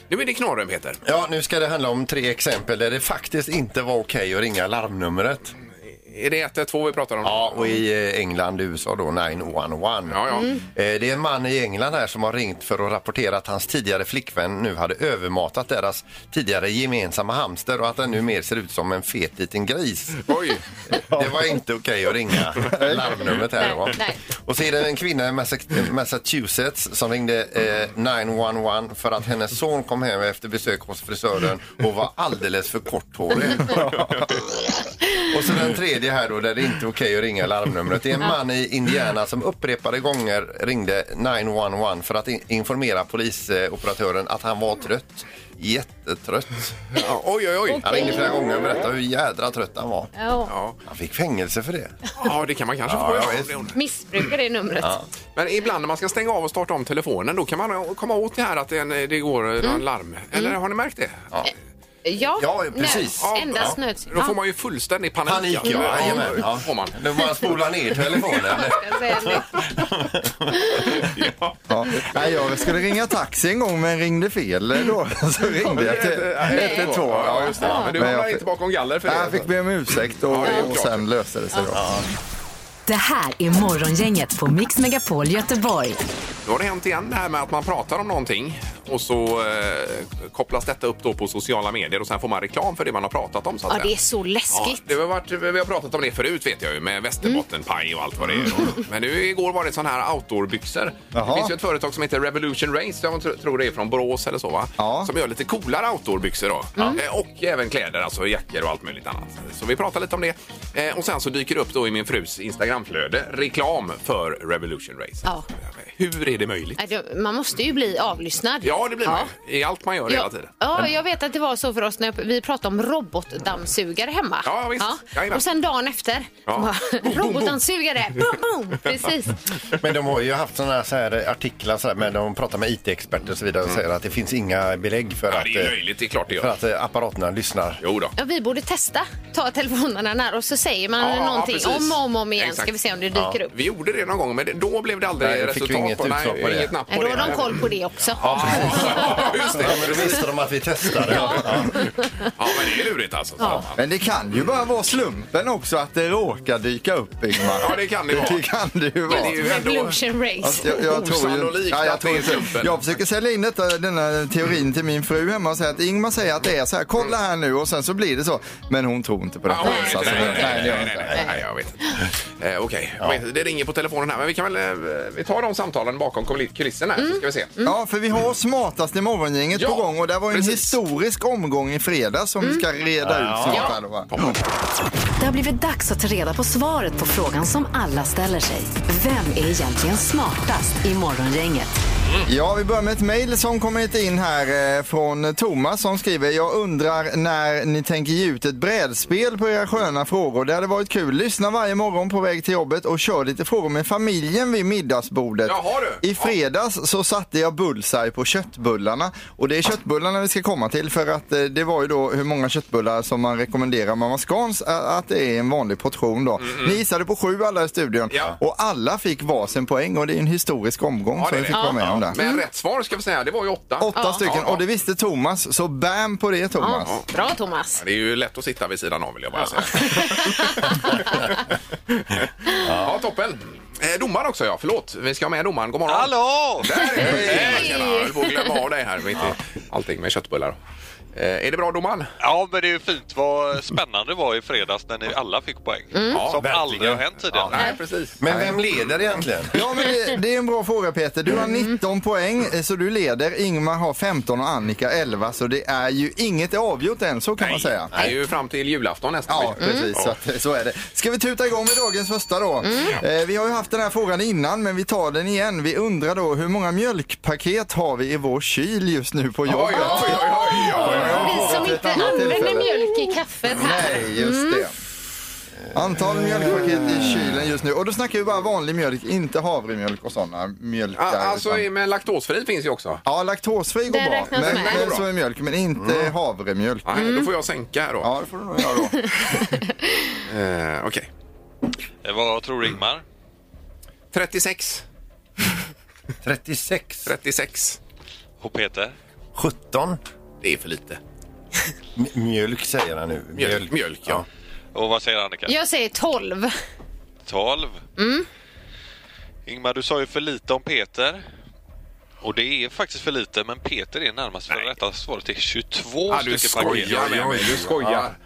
[SPEAKER 4] Nu är det knorren, Peter.
[SPEAKER 5] Ja, nu ska det handla om tre exempel där det faktiskt inte var okej att ringa larmnumret.
[SPEAKER 4] Är det 112 vi pratar om?
[SPEAKER 5] Ja, och i eh, England, USA då, 911.
[SPEAKER 4] Ja, ja.
[SPEAKER 5] Eh, Det är en man i England här som har ringt för att rapportera att hans tidigare flickvän nu hade övermatat deras tidigare gemensamma hamster och att den nu mer ser ut som en fet liten gris.
[SPEAKER 4] Oj!
[SPEAKER 5] Det var inte okej att ringa larmnumret här då.
[SPEAKER 6] Nej, nej.
[SPEAKER 5] Och så är det en kvinna i Massa- Massachusetts som ringde eh, 911 för att hennes son kom hem efter besök hos frisören och var alldeles för korthårig. Och så den tredje här då, där det inte är okej att ringa larmnumret. Det är en man i Indiana som upprepade gånger ringde 911 för att in- informera polisoperatören att han var trött. Jättetrött.
[SPEAKER 4] Ja, oj, oj, oj!
[SPEAKER 5] Han ringde flera gånger och berättade hur jädra trött han var.
[SPEAKER 6] Ja.
[SPEAKER 4] Ja,
[SPEAKER 5] Han fick fängelse för det.
[SPEAKER 4] ja det kan man kanske
[SPEAKER 5] Ja,
[SPEAKER 4] få.
[SPEAKER 5] ja,
[SPEAKER 4] Ja,
[SPEAKER 5] visst.
[SPEAKER 4] det-
[SPEAKER 6] Missbrukar det numret.
[SPEAKER 4] Men ibland när man ska stänga av och starta om telefonen då kan man komma åt det här att det, eh, det går någon larm. Eller har ni märkt det? Ja,
[SPEAKER 6] Ja,
[SPEAKER 5] Ja, precis.
[SPEAKER 6] nöt. Endast
[SPEAKER 4] ja.
[SPEAKER 6] nöt.
[SPEAKER 4] Då får man ju fullständig panik.
[SPEAKER 5] Panik, ja. Jajamän. Ja.
[SPEAKER 4] Får man.
[SPEAKER 5] Nu får man spola ner telefonen.
[SPEAKER 6] Jag säger det.
[SPEAKER 7] Ja. Nej, jag skulle ringa taxi en gång men ringde fel då. Så ringde jag till 112.
[SPEAKER 4] Ja, just det. Men du
[SPEAKER 7] jag
[SPEAKER 4] hamnar
[SPEAKER 7] fick-
[SPEAKER 4] inte bakom galler för
[SPEAKER 7] Nej, jag
[SPEAKER 4] det.
[SPEAKER 7] fick be om ursäkt och,
[SPEAKER 4] Ja, det är
[SPEAKER 7] och
[SPEAKER 4] klart.
[SPEAKER 7] sen löste det sig. Då.
[SPEAKER 3] Det här är Morgongänget på Mix Megapol Göteborg.
[SPEAKER 4] Nu har det hänt igen det här med att man pratar om någonting och så eh, kopplas detta upp då på sociala medier och sen får man reklam för det man har pratat om. Så att
[SPEAKER 6] Ja, det är
[SPEAKER 4] säga.
[SPEAKER 6] så
[SPEAKER 4] Ja,
[SPEAKER 6] läskigt.
[SPEAKER 4] det har varit, vi har pratat om det förut vet jag ju med västerbottenpaj och allt vad det är. då. Men nu igår var det sån här outdoorbyxor. Det
[SPEAKER 7] Jaha.
[SPEAKER 4] finns ju ett företag som heter Revolution Race, jag tr- tror det är från Borås eller så va?
[SPEAKER 7] Ja.
[SPEAKER 4] Som gör lite coolare outdoorbyxor då. Eh, Och även kläder, alltså jackor och allt möjligt annat. Så vi pratar lite om det. Eh, Och sen så dyker det upp då i min frus Instagramflöde reklam för Revolution Race.
[SPEAKER 6] Ja.
[SPEAKER 4] Hur är det möjligt?
[SPEAKER 6] Nej, det- Man måste ju bli avlyssnad.
[SPEAKER 4] Ja, det blir man ju. I allt man gör hela
[SPEAKER 6] Ja,
[SPEAKER 4] tiden.
[SPEAKER 6] ja, jag vet att det var så för oss när vi pratade om robotdammsugare hemma.
[SPEAKER 4] Ja, visst. Jajamän.
[SPEAKER 6] Och sen dagen efter.
[SPEAKER 4] Ja.
[SPEAKER 6] bara,
[SPEAKER 4] Boom, boom, boom.
[SPEAKER 6] Robotdammsugare! Boom, boom! Precis.
[SPEAKER 5] Men de har ju haft sådana här, så här artiklar så här, men de pratar med IT-experter och så vidare och säger att det finns inga belägg för
[SPEAKER 4] Ja,
[SPEAKER 5] att,
[SPEAKER 4] det är
[SPEAKER 5] eh,
[SPEAKER 4] löjligt, det är klart det
[SPEAKER 5] för
[SPEAKER 4] gör.
[SPEAKER 5] att eh, apparaterna lyssnar.
[SPEAKER 4] Jo då.
[SPEAKER 6] Ja, vi borde testa. Ta telefonerna nära och så säger man
[SPEAKER 4] Ja, ja,
[SPEAKER 6] någonting
[SPEAKER 4] precis.
[SPEAKER 6] om och om, och om igen.
[SPEAKER 4] Exakt.
[SPEAKER 6] Ska vi se om det dyker upp.
[SPEAKER 4] Vi gjorde det någon gång, men det- då blev det aldrig
[SPEAKER 5] Nej, fick vi
[SPEAKER 4] resultat.
[SPEAKER 5] inget
[SPEAKER 4] på, nej,
[SPEAKER 5] utslag på det.
[SPEAKER 4] Inget napp
[SPEAKER 6] Nej,
[SPEAKER 4] på
[SPEAKER 6] Då
[SPEAKER 4] det.
[SPEAKER 6] har de
[SPEAKER 4] Nej.
[SPEAKER 6] koll på det också.
[SPEAKER 4] Ja, just
[SPEAKER 5] Ja,
[SPEAKER 4] det.
[SPEAKER 5] men då visste de att vi testade. Ja.
[SPEAKER 4] Ja, men det är lurigt alltså. Ja,
[SPEAKER 6] Ja.
[SPEAKER 7] Men det kan ju bara vara slumpen också att det råkar dyka upp, Ingmar.
[SPEAKER 4] Ja, det kan det vara.
[SPEAKER 7] Det kan det ju vara.
[SPEAKER 4] det är ju ändå-
[SPEAKER 6] Revolution Race.
[SPEAKER 7] Alltså, jag, jag tror ju,
[SPEAKER 4] Osannolikt
[SPEAKER 7] ja, jag,
[SPEAKER 4] att det är
[SPEAKER 7] tror inte,
[SPEAKER 4] slumpen.
[SPEAKER 7] jag försöker sälja in detta, denna teorin till min fru hemma och säga att Ingmar säger att det är så här, kolla här nu och sen så blir det så. Men hon tror inte på detta.
[SPEAKER 4] Ja,
[SPEAKER 7] alls,
[SPEAKER 4] nej,
[SPEAKER 7] alltså.
[SPEAKER 4] nej, nej,
[SPEAKER 7] Nej, det gör hon
[SPEAKER 4] nej,
[SPEAKER 7] inte.
[SPEAKER 4] nej, nej, nej, jag vet inte. Eh, Okej, Jag vet inte, det ringer på telefonen här, men vi kan väl eh, vi tar de samtalen bakom kulisserna här,
[SPEAKER 6] Mm.
[SPEAKER 4] så ska vi se.
[SPEAKER 7] Mm. Ja, för vi har smartaste morgongänget
[SPEAKER 4] Ja,
[SPEAKER 7] på gång och det var ju en
[SPEAKER 4] precis.
[SPEAKER 7] historisk omgång i fredags som vi ska reda ut snart. här då, va?
[SPEAKER 3] Det har blivit dags att ta reda på svaret på frågan som alla ställer sig. Vem är egentligen smartast i Morgongänget?
[SPEAKER 7] Ja, vi börjar med ett mejl som kommit in här eh, från Thomas som skriver Jag undrar när ni tänker ge ut ett brädspel på era sköna frågor. Det hade varit kul. Lyssna varje morgon på väg till jobbet och kör lite frågor med familjen vid middagsbordet.
[SPEAKER 4] Jaha, du.
[SPEAKER 7] I fredags så satte jag bullseye på köttbullarna och det är köttbullarna vi ska komma till för att eh, det var ju då hur många köttbullar som man rekommenderar Mamma Scans eh, att det är en vanlig portion då. Ni gissade på sju alla i studion
[SPEAKER 4] Ja.
[SPEAKER 7] och alla fick varsin poäng och det är en historisk omgång
[SPEAKER 4] Ja,
[SPEAKER 7] så
[SPEAKER 4] det är
[SPEAKER 7] vi fick
[SPEAKER 4] det.
[SPEAKER 7] vara med om det.
[SPEAKER 6] Mm.
[SPEAKER 4] Men rätt svar ska vi säga, det var ju åtta.
[SPEAKER 7] Åtta
[SPEAKER 4] Ja.
[SPEAKER 7] stycken
[SPEAKER 4] Ja, ja.
[SPEAKER 7] och det visste Thomas, så bam på det Thomas.
[SPEAKER 6] Ja, bra Thomas.
[SPEAKER 4] Det är ju lätt att sitta vid sidan av vill jag bara säga. ja, toppen. Eh, domaren också ja, förlåt. Vi ska ha med domaren. God morgon.
[SPEAKER 10] Hallå!
[SPEAKER 4] Där är du! Hej! Tjena, Jag höll på att glömma av dig här mitt i allting med köttbullar. Eh, är det bra domaren?
[SPEAKER 10] Ja, men det är ju fint vad spännande det var i fredags när ni alla fick poäng.
[SPEAKER 4] Ja,
[SPEAKER 10] Som
[SPEAKER 4] verkligen.
[SPEAKER 10] aldrig har hänt tidigare.
[SPEAKER 4] Nej, precis.
[SPEAKER 5] Men vem leder egentligen?
[SPEAKER 7] Ja, men det, det är en bra fråga Peter. Du har 19 poäng eh, så du leder. Ingmar har 15 och Annika 11 så det är ju inget är avgjort än så kan man säga.
[SPEAKER 4] Det är ju fram till julafton nästan.
[SPEAKER 7] Ja, Mm. precis. Så, att, eh, så är det. Ska vi tuta igång med dagens första då? Eh, vi har ju haft den här frågan innan, men vi tar den igen. Vi undrar då hur många mjölkpaket har vi i vår kyl just nu på
[SPEAKER 4] Oj,
[SPEAKER 7] jobbet?
[SPEAKER 4] oj, oj, oj, oj, oj.
[SPEAKER 6] Vi som inte använder mjölk i kaffet här.
[SPEAKER 7] Nej, just det. Antal mjölkpaket i kylen just nu. Och då snackar vi bara vanlig mjölk, inte havremjölk och sådana mjölkar.
[SPEAKER 4] Ah, Alltså,
[SPEAKER 7] utan-
[SPEAKER 4] men laktosfri finns ju också.
[SPEAKER 7] Ja, laktosfri går
[SPEAKER 6] Den
[SPEAKER 7] bra.
[SPEAKER 6] räknas
[SPEAKER 7] Men,
[SPEAKER 6] med.
[SPEAKER 7] men som är mjölk, men inte
[SPEAKER 4] Mm.
[SPEAKER 7] havremjölk.
[SPEAKER 4] Nej, Ah, Då får jag sänka här då.
[SPEAKER 7] Ja, det får du nog göra då.
[SPEAKER 4] Eh, Okej.
[SPEAKER 10] Eh, Vad tror du Ingmar?
[SPEAKER 4] 36.
[SPEAKER 5] 36.
[SPEAKER 4] 36.
[SPEAKER 10] Och Peter?
[SPEAKER 5] 17.
[SPEAKER 4] Det är för lite.
[SPEAKER 5] M- Mjölk säger han nu.
[SPEAKER 4] Mjölk, mjölk ja.
[SPEAKER 10] Och vad säger Annika?
[SPEAKER 6] Jag säger 12.
[SPEAKER 10] 12. Ingmar, du sa ju för lite om Peter. Och det är faktiskt för lite, men Peter är närmast för det rätta svaret. Det är 22
[SPEAKER 4] Ja, du
[SPEAKER 10] stycken
[SPEAKER 4] skojar
[SPEAKER 10] paket.
[SPEAKER 4] med mig. Du skojar.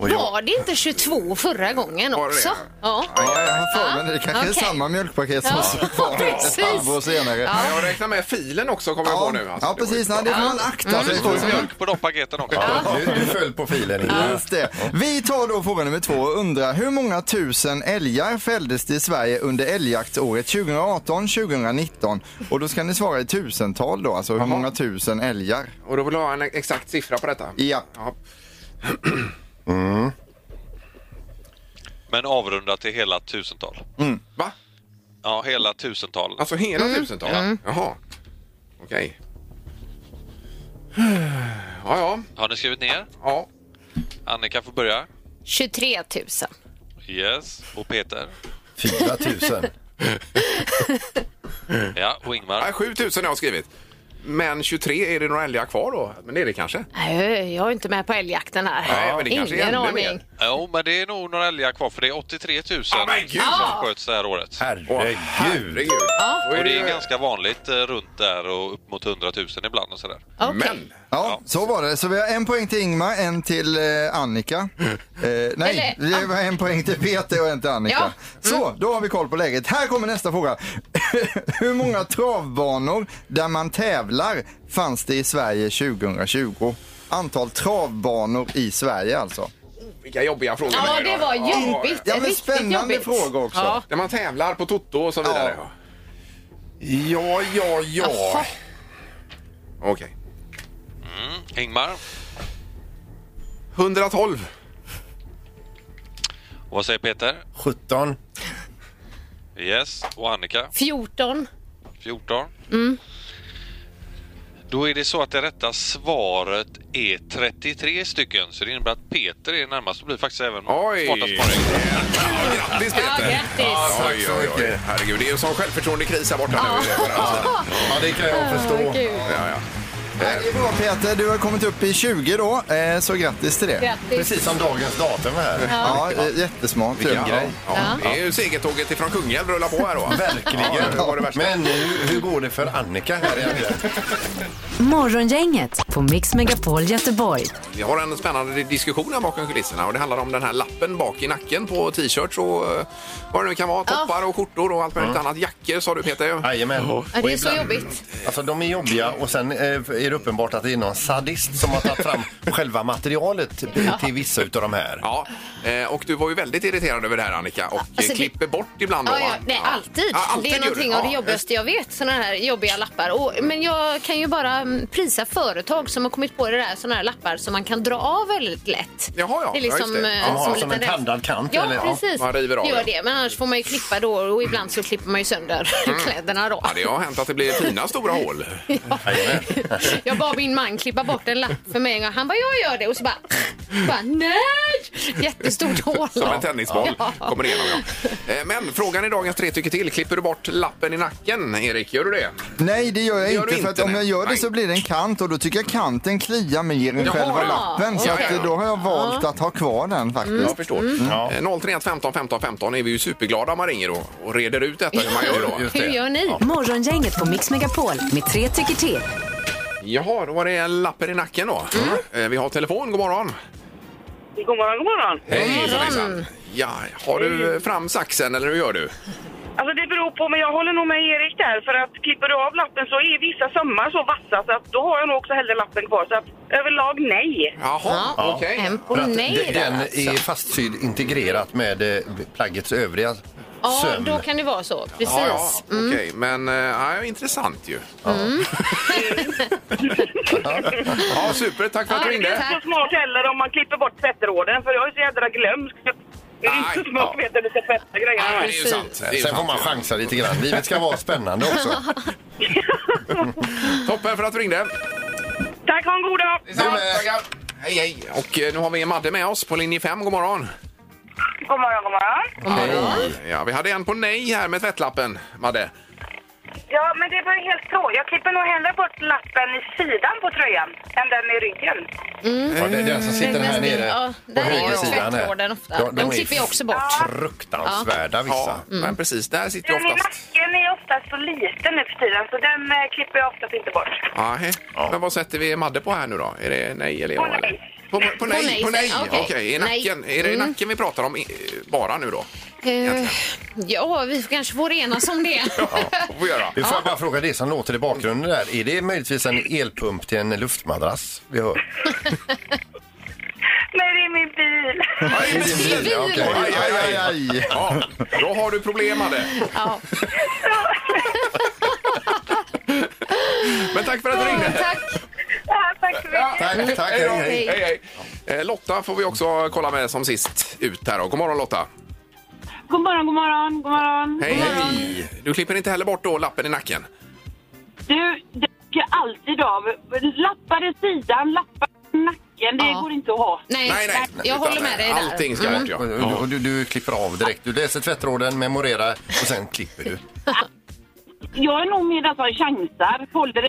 [SPEAKER 5] Och jag,
[SPEAKER 6] Var det inte 22 förra gången
[SPEAKER 4] Var det
[SPEAKER 6] också?
[SPEAKER 4] det?
[SPEAKER 6] Ja.
[SPEAKER 7] Ja, jag har för mig det. Det kanske
[SPEAKER 6] Okej.
[SPEAKER 7] är samma mjölkpaket som
[SPEAKER 6] Ja,
[SPEAKER 7] var ett
[SPEAKER 6] precis.
[SPEAKER 7] halvår senare.
[SPEAKER 6] Ja.
[SPEAKER 4] Jag räknar med filen också kommer jag på nu. alltså.
[SPEAKER 7] ja
[SPEAKER 4] Det var ju
[SPEAKER 7] precis.
[SPEAKER 4] bra.
[SPEAKER 7] Nej, det får man akta sig
[SPEAKER 6] Mm.
[SPEAKER 10] Det är
[SPEAKER 7] för.
[SPEAKER 10] mjölk på de paketen också.
[SPEAKER 5] du, du föll på filen. Ingmar.
[SPEAKER 7] Just det. Vi tar då fråga nummer två och undrar hur många tusen älgar fälldes det i Sverige under älgjaktsåret 2018-2019? Och då ska ni svara i tusental då, alltså hur många tusen älgar?
[SPEAKER 4] Och då vill du ha en exakt siffra på detta?
[SPEAKER 7] Ja.
[SPEAKER 4] Ja.
[SPEAKER 10] Men avrundat till hela tusental.
[SPEAKER 4] Va?
[SPEAKER 10] Ja, hela tusental.
[SPEAKER 4] Alltså hela
[SPEAKER 6] Mm,
[SPEAKER 4] tusental? Jaha. Okej. Ja, ja.
[SPEAKER 10] Har ni skrivit ner?
[SPEAKER 4] ja.
[SPEAKER 10] Annika får börja.
[SPEAKER 6] 23 000.
[SPEAKER 10] Yes. Och Peter.
[SPEAKER 5] 4 000.
[SPEAKER 10] Ja, och
[SPEAKER 4] Nej,
[SPEAKER 10] Ingmar.
[SPEAKER 4] 7000 har jag skrivit. Men 23, är det några älgar kvar då? Men det är det kanske?
[SPEAKER 6] Nej, jag är inte med på älgjakten här.
[SPEAKER 4] Nej, men det kanske är
[SPEAKER 6] Ingen
[SPEAKER 4] ännu
[SPEAKER 6] aning.
[SPEAKER 4] mer.
[SPEAKER 10] Jo, men det är nog några älgar kvar för det är 83 000
[SPEAKER 4] Ja, men gud!
[SPEAKER 10] som sköts det här året.
[SPEAKER 4] Åh,
[SPEAKER 5] Herregud.
[SPEAKER 4] herregud. Då
[SPEAKER 10] Och
[SPEAKER 4] är
[SPEAKER 10] det är
[SPEAKER 4] ju-
[SPEAKER 10] ganska vanligt eh, runt där och upp mot 100 000 ibland och sådär.
[SPEAKER 6] Okej.
[SPEAKER 4] Men!
[SPEAKER 7] Ja, så var det. Så vi har en poäng till Ingmar, en till eh, Annika. Eh, nej,
[SPEAKER 6] Eller- Mm.
[SPEAKER 7] vi har en poäng till Peter och en till Annika. Så, då har vi koll på läget. Här kommer nästa fråga. Hur många travbanor där man tävlar fanns det i Sverige 2020? Antal travbanor i Sverige alltså.
[SPEAKER 4] Vilka jobbiga frågor.
[SPEAKER 6] Ja,
[SPEAKER 4] här
[SPEAKER 6] det
[SPEAKER 4] idag.
[SPEAKER 6] var
[SPEAKER 4] Ja,
[SPEAKER 6] jobbigt.
[SPEAKER 7] Ja, men
[SPEAKER 6] Riktigt
[SPEAKER 7] spännande
[SPEAKER 6] jobbigt.
[SPEAKER 7] fråga också.
[SPEAKER 6] Ja.
[SPEAKER 4] Där man tävlar på Toto och så vidare.
[SPEAKER 7] Ja.
[SPEAKER 5] Ja, ja, ja.
[SPEAKER 4] Okej.
[SPEAKER 10] Ingmar,
[SPEAKER 4] 112.
[SPEAKER 10] och vad säger Peter?
[SPEAKER 5] 17.
[SPEAKER 10] Yes. Och Annika?
[SPEAKER 6] 14.
[SPEAKER 10] 14. Då är det så att det rätta svaret är 33 stycken, så det innebär att Peter är närmast och blir faktiskt även
[SPEAKER 4] Oj!
[SPEAKER 10] smartast på
[SPEAKER 4] Ja, Grattis
[SPEAKER 6] Ja,
[SPEAKER 4] Peter!
[SPEAKER 6] grattis.
[SPEAKER 4] oj, oj, oj. Herregud, det är ju en sån självförtroendekris här borta nu.
[SPEAKER 5] Ja, det kan jag förstå.
[SPEAKER 6] Gud.
[SPEAKER 4] Ja, ja.
[SPEAKER 7] Nej, Eh, Det är bra Peter, du har kommit upp i 20 då, eh, så grattis till det.
[SPEAKER 6] Grattis.
[SPEAKER 5] Precis som dagens datum här.
[SPEAKER 7] Ja, eh, jättesmart.
[SPEAKER 5] Vilken
[SPEAKER 7] ju.
[SPEAKER 5] grej.
[SPEAKER 4] Ja, det är ju segertåget ifrån Kungälv rullar på här då. Ja,
[SPEAKER 5] Verkligen.
[SPEAKER 4] det var det värsta.
[SPEAKER 5] Men hur, hur går det för Annika här i helgen?
[SPEAKER 3] Morgongänget på Mix Megapol Göteborg.
[SPEAKER 4] Vi har en spännande diskussion här bakom kulisserna och det handlar om den här lappen bak i nacken på t-shirts och eh, vad det nu kan vara. Toppar och skjortor och allt möjligt
[SPEAKER 6] Mm.
[SPEAKER 4] annat. Jackor sa du Peter.
[SPEAKER 5] Jajamän.
[SPEAKER 6] Ja,
[SPEAKER 5] Och
[SPEAKER 6] det är så
[SPEAKER 5] ibland-
[SPEAKER 6] jobbigt.
[SPEAKER 5] Alltså de är jobbiga och sen eh, är det uppenbart att det är någon sadist som har tagit fram själva materialet till vissa utav de här.
[SPEAKER 4] Ja, eh, och du var ju väldigt irriterad över det här Annika och
[SPEAKER 6] Alltså,
[SPEAKER 4] eh,
[SPEAKER 6] det-
[SPEAKER 4] klipper bort ibland då
[SPEAKER 6] Ja,
[SPEAKER 4] va?
[SPEAKER 6] ja, nej, alltid.
[SPEAKER 4] Ja, alltid
[SPEAKER 6] Det är
[SPEAKER 4] gör
[SPEAKER 6] någonting
[SPEAKER 4] du.
[SPEAKER 6] av det
[SPEAKER 4] Ja,
[SPEAKER 6] jobbigaste jag vet, såna här jobbiga lappar. Och, men jag kan ju bara mm, prisa företag som har kommit på det där, såna här lappar som man kan dra av väldigt lätt.
[SPEAKER 4] Jaha, ja.
[SPEAKER 6] Det är
[SPEAKER 4] Ja,
[SPEAKER 6] liksom
[SPEAKER 4] just det.
[SPEAKER 6] eh,
[SPEAKER 5] Jaha,
[SPEAKER 6] som,
[SPEAKER 5] som
[SPEAKER 6] liten
[SPEAKER 5] en
[SPEAKER 6] räls.
[SPEAKER 5] tandad kant,
[SPEAKER 6] Ja,
[SPEAKER 5] eller? Ja,
[SPEAKER 6] precis.
[SPEAKER 4] man river av
[SPEAKER 6] det gör
[SPEAKER 4] det.
[SPEAKER 6] det. Men annars får man ju klippa då och ibland så klipper man ju sönder
[SPEAKER 4] Mm.
[SPEAKER 6] kläderna då.
[SPEAKER 4] Ja, det har hänt att det blir fina stora hål.
[SPEAKER 5] Jajamän.
[SPEAKER 6] Jag bad min man klippa bort en lapp för mig en gång. Han bara, jag gör det. Och så bara, bara nej! Jättestort hål.
[SPEAKER 4] Som en tennisboll
[SPEAKER 6] Ja.
[SPEAKER 4] kommer igenom. Ja. Eh, Men frågan i dagens tre tycker till. Klipper du bort lappen i nacken, Erik? Gör du det?
[SPEAKER 7] Nej, det gör jag
[SPEAKER 4] Det gör
[SPEAKER 7] inte.
[SPEAKER 4] du
[SPEAKER 7] för
[SPEAKER 4] inte,
[SPEAKER 7] att om jag
[SPEAKER 4] nej.
[SPEAKER 7] gör det
[SPEAKER 4] Nej.
[SPEAKER 7] så blir det en kant och då tycker jag kanten kliar mer än
[SPEAKER 4] Jaha,
[SPEAKER 7] själva
[SPEAKER 4] ja.
[SPEAKER 7] lappen. Så
[SPEAKER 4] Ja,
[SPEAKER 7] att,
[SPEAKER 4] ja, Mm. ja.
[SPEAKER 7] då har jag valt att ha kvar den faktiskt.
[SPEAKER 4] Jag förstår.
[SPEAKER 6] Mm.
[SPEAKER 5] Ja.
[SPEAKER 4] Eh, 031 15 15 15 är vi ju superglada om man ringer och, och reder ut detta hur man gör då.
[SPEAKER 5] Just
[SPEAKER 6] Hur
[SPEAKER 5] det.
[SPEAKER 6] gör ni?
[SPEAKER 3] Morgongänget på Mix Megapol med tre tycker till.
[SPEAKER 4] Jaha, då var det en lappen i nacken då. Eh, Vi har telefon, god morgon.
[SPEAKER 9] God morgon, god morgon.
[SPEAKER 4] Hej, hejsan. Ja, har du fram saxen eller hur gör du?
[SPEAKER 9] Alltså det beror på, men jag håller nog med Erik där. För att klipper du av lappen så är vissa sömmar så vassa så att då har jag nog också hellre lappen kvar. Så att överlag nej.
[SPEAKER 4] Jaha,
[SPEAKER 6] Ja.
[SPEAKER 4] okej.
[SPEAKER 6] En på
[SPEAKER 5] För att
[SPEAKER 6] nej
[SPEAKER 5] de-
[SPEAKER 6] där
[SPEAKER 5] den är fastsydd integrerat med eh, plaggets övriga
[SPEAKER 6] Ja,
[SPEAKER 5] söm.
[SPEAKER 6] då kan det vara så. Precis.
[SPEAKER 4] Ja, ja, okej. Men eh, ja, intressant ju. ja, super. Tack för att du
[SPEAKER 9] Det är
[SPEAKER 4] ringde.
[SPEAKER 9] inte så smart heller om man klipper bort tvättråden för jag är så jädra glömsk. Det är inte så
[SPEAKER 4] Nej,
[SPEAKER 9] smart
[SPEAKER 4] ja.
[SPEAKER 9] vet att du ska tvätta
[SPEAKER 4] Ja,
[SPEAKER 9] grejerna.
[SPEAKER 4] men det är ju sant. Det är ju
[SPEAKER 5] Sen får
[SPEAKER 4] sant.
[SPEAKER 5] man chansa lite grann. Livet ska vara spännande också.
[SPEAKER 4] Toppen för att du ringde.
[SPEAKER 9] Tack, ha en god dag!
[SPEAKER 4] Tackar. Hej, hej. Och eh, nu har vi Madde med oss på linje 5. God morgon.
[SPEAKER 9] God morgon, god morgon.
[SPEAKER 4] Ja, vi hade en på nej här med tvättlappen, Madde.
[SPEAKER 9] Ja, men det var ju helt så. Jag klipper nog hellre bort lappen i sidan på tröjan än den i ryggen.
[SPEAKER 5] Ja, det är den som sitter här
[SPEAKER 6] Nästan-
[SPEAKER 5] nere
[SPEAKER 6] Mm. ja,
[SPEAKER 5] på
[SPEAKER 6] där är ju
[SPEAKER 5] höger sidan. här.
[SPEAKER 6] tvättråden ofta. De,
[SPEAKER 5] är
[SPEAKER 6] klipper jag också bort.
[SPEAKER 5] Fruktansvärda vissa.
[SPEAKER 4] Ja, men precis. Där sitter
[SPEAKER 9] Den i
[SPEAKER 4] oftast...
[SPEAKER 9] nacken är oftast så liten nu för tiden så den eh, klipper jag oftast inte bort.
[SPEAKER 4] Aha.
[SPEAKER 5] Ja.
[SPEAKER 4] Men vad sätter vi Madde på här nu då? Är det nej eller
[SPEAKER 9] På
[SPEAKER 4] ja? eller?
[SPEAKER 9] nej.
[SPEAKER 4] På, på nej,
[SPEAKER 6] nej,
[SPEAKER 4] på nej.
[SPEAKER 6] säger-
[SPEAKER 4] Okej,
[SPEAKER 6] okej.
[SPEAKER 4] i nacken.
[SPEAKER 6] Nej.
[SPEAKER 4] Är det i
[SPEAKER 6] Mm.
[SPEAKER 4] nacken vi pratar om i- bara nu då?
[SPEAKER 6] Eh, ja, vi kanske får enas om det.
[SPEAKER 4] Får vi göra?
[SPEAKER 5] Du får jag bara fråga det som låter i bakgrunden där. Är det möjligtvis en elpump till en luftmadrass vi hör?
[SPEAKER 9] Nej, det är min bil.
[SPEAKER 5] Det är din bil, ja, okej.
[SPEAKER 4] Aj, aj, aj, aj.
[SPEAKER 7] aj.
[SPEAKER 4] Ja, då har du problem Madde.
[SPEAKER 6] ja.
[SPEAKER 4] Men tack för att du ringde. Mm.
[SPEAKER 6] Mm, Tack.
[SPEAKER 9] Ja, tack så mycket.
[SPEAKER 5] Tack, tack.
[SPEAKER 4] Hej,
[SPEAKER 5] Hej,
[SPEAKER 4] då.
[SPEAKER 5] hej.
[SPEAKER 4] hej, hej. Eh, Lotta får vi också kolla med som sist ut här. då. God morgon Lotta.
[SPEAKER 2] God morgon, god morgon, god morgon. Mm.
[SPEAKER 4] Hej, hej. Du klipper inte heller bort då lappen i nacken?
[SPEAKER 2] Du, det tycker jag alltid av. Lappar i sidan, lappar i nacken. Det
[SPEAKER 6] Ja.
[SPEAKER 2] går inte att ha.
[SPEAKER 6] Nej, jag
[SPEAKER 4] Utan,
[SPEAKER 6] håller med dig där. Mm.
[SPEAKER 4] Allting ska bort ja.
[SPEAKER 5] Och, och, och du, du klipper av direkt. Du läser tvättråden, memorerar och sen klipper du.
[SPEAKER 2] Jag är nog mer den som chansar. Håller det.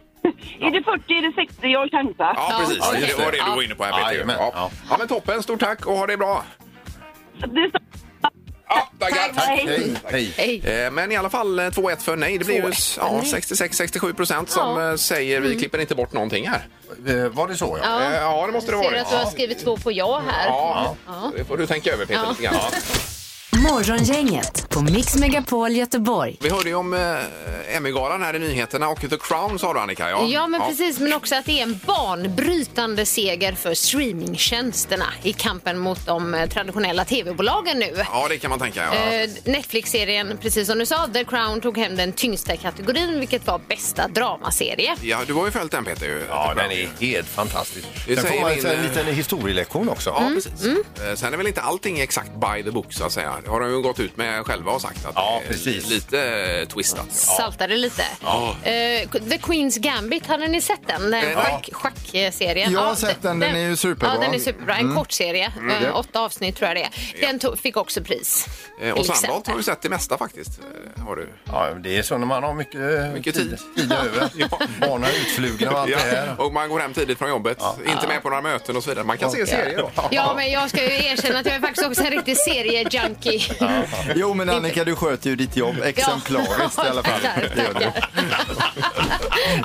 [SPEAKER 2] Är det 40, är det 60, jag chansar.
[SPEAKER 4] Ja,
[SPEAKER 6] Ja,
[SPEAKER 4] precis.
[SPEAKER 6] ja,
[SPEAKER 4] det
[SPEAKER 6] just
[SPEAKER 4] var
[SPEAKER 5] det.
[SPEAKER 4] det du var inne på här,
[SPEAKER 5] Ja,
[SPEAKER 4] Peter.
[SPEAKER 5] jajamän.
[SPEAKER 4] Ja.
[SPEAKER 5] Ja.
[SPEAKER 4] ja, men toppen. Stort tack och ha det bra.
[SPEAKER 2] Det är så-
[SPEAKER 4] Ja, tackar.
[SPEAKER 2] Hej.
[SPEAKER 5] Hej, hej.
[SPEAKER 6] Hej.
[SPEAKER 4] Eh, Men i alla fall eh, 2-1 för nej. Det blir ju
[SPEAKER 6] 2-1 för
[SPEAKER 4] ja,
[SPEAKER 6] nej.
[SPEAKER 4] 66-67 procent som
[SPEAKER 6] Ja. Mm.
[SPEAKER 4] eh, säger vi klipper inte bort någonting här.
[SPEAKER 5] Eh, Var det så? Ja.
[SPEAKER 6] Ja.
[SPEAKER 4] Eh, Ja, det måste det
[SPEAKER 6] Jag ser
[SPEAKER 4] vara.
[SPEAKER 6] att du har skrivit två på ja här.
[SPEAKER 4] Ja, det får du tänka över Peter
[SPEAKER 6] Ja.
[SPEAKER 4] lite grann.
[SPEAKER 3] Morgongänget på Mix Megapol Göteborg.
[SPEAKER 4] Vi hörde ju om eh, Emmygalan här i nyheterna och The Crown sa du Annika. Ja,
[SPEAKER 6] Ja, men precis. Men också att det är en banbrytande seger för streamingtjänsterna i kampen mot de eh, traditionella tv-bolagen nu.
[SPEAKER 4] Ja, det kan man tänka. Ja.
[SPEAKER 6] Eh, Netflix-serien, precis som du sa, The Crown tog hem den tyngsta kategorin, vilket var bästa dramaserie.
[SPEAKER 4] ja, du har ju följt den Peter. ju.
[SPEAKER 5] Ja, den är helt fantastisk.
[SPEAKER 4] Det
[SPEAKER 5] Sen får
[SPEAKER 4] säger
[SPEAKER 5] man
[SPEAKER 4] min,
[SPEAKER 5] en
[SPEAKER 4] eh,
[SPEAKER 5] liten historielektion också.
[SPEAKER 4] Ja,
[SPEAKER 6] Mm,
[SPEAKER 4] precis. Eh, Sen är väl inte allting exakt by the book så att säga. Det har de ju gått ut med själva och sagt att
[SPEAKER 5] Ja,
[SPEAKER 4] det är
[SPEAKER 5] precis.
[SPEAKER 4] lite eh, twistat.
[SPEAKER 6] Saltade lite.
[SPEAKER 4] Ja.
[SPEAKER 6] Eh, The Queen's Gambit, hade ni sett den? Den
[SPEAKER 4] Ja.
[SPEAKER 6] schack, schackserien.
[SPEAKER 7] Jag har sett den, den är ju superbra.
[SPEAKER 6] Ja, den är superbra. En kortserie, eh, åtta avsnitt tror jag det är. Den tog, fick också pris.
[SPEAKER 4] Eh,
[SPEAKER 6] till
[SPEAKER 4] Och Sandholt
[SPEAKER 6] exempel.
[SPEAKER 4] har ju sett det mesta faktiskt. eh, Har du.
[SPEAKER 5] Ja, det är så när man har mycket, eh,
[SPEAKER 4] Mycket tid.
[SPEAKER 5] tid över. Barnen är utflugna och allt det här.
[SPEAKER 4] Och man går hem tidigt från jobbet, inte med på några möten och så vidare. Man kan se serier då.
[SPEAKER 6] Ja, men jag ska ju erkänna att jag är faktiskt också en riktig seriejunkie.
[SPEAKER 7] Jo men Annika du sköter ju ditt jobb exemplariskt i alla fall.
[SPEAKER 6] Tackar,
[SPEAKER 7] Det gör du.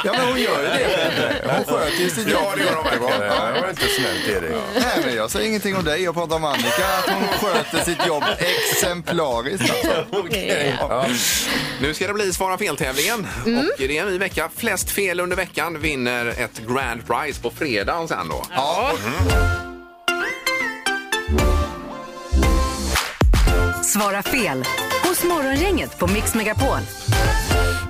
[SPEAKER 7] Ja men hon gör ju det. Hon sköter ju sitt
[SPEAKER 4] Ja,
[SPEAKER 7] jobb.
[SPEAKER 4] det gör de
[SPEAKER 5] Ja,
[SPEAKER 4] verkligen.
[SPEAKER 5] det var inte snällt Erik.
[SPEAKER 7] Nej men jag säger ingenting om dig, jag pratar om Annika. Att hon sköter sitt jobb exemplariskt alltså.
[SPEAKER 6] Okej.
[SPEAKER 5] Ja.
[SPEAKER 4] Nu ska det bli Svara fel-tävlingen.
[SPEAKER 6] Mm.
[SPEAKER 4] Och det är en ny vecka. Flest fel under veckan vinner ett grand prize på fredagen sen då.
[SPEAKER 7] Ja,
[SPEAKER 3] Svara fel hos Morgongänget på Mix Megapol.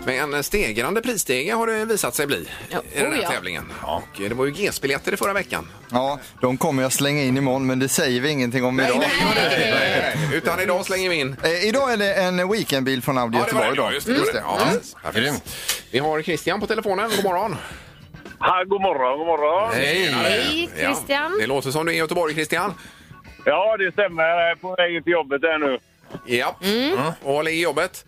[SPEAKER 4] Men en stegrande prisstege har det visat sig bli
[SPEAKER 6] Ja,
[SPEAKER 4] i den här
[SPEAKER 6] oh ja.
[SPEAKER 4] tävlingen. Och eh, det var ju GS-biljetter i förra veckan.
[SPEAKER 7] ja, de kommer jag slänga in imorgon men det säger vi ingenting om idag.
[SPEAKER 4] Utan idag slänger vi in...
[SPEAKER 7] Eh, idag är det en weekendbil från Audi
[SPEAKER 4] Ja, det var
[SPEAKER 7] Göteborg.
[SPEAKER 4] det.
[SPEAKER 7] idag.
[SPEAKER 4] Ja, just det. Mm. det var det. Ja, precis.
[SPEAKER 5] Grymt.
[SPEAKER 4] Vi har Christian på telefonen. God morgon.
[SPEAKER 1] Ha, god morgon, god morgon.
[SPEAKER 6] Hej,
[SPEAKER 4] Ja,
[SPEAKER 6] Christian.
[SPEAKER 4] det låter som du är i Göteborg, Christian.
[SPEAKER 1] Ja, det stämmer. Jag är på väg till jobbet här nu.
[SPEAKER 4] Ja. Och håller i jobbet.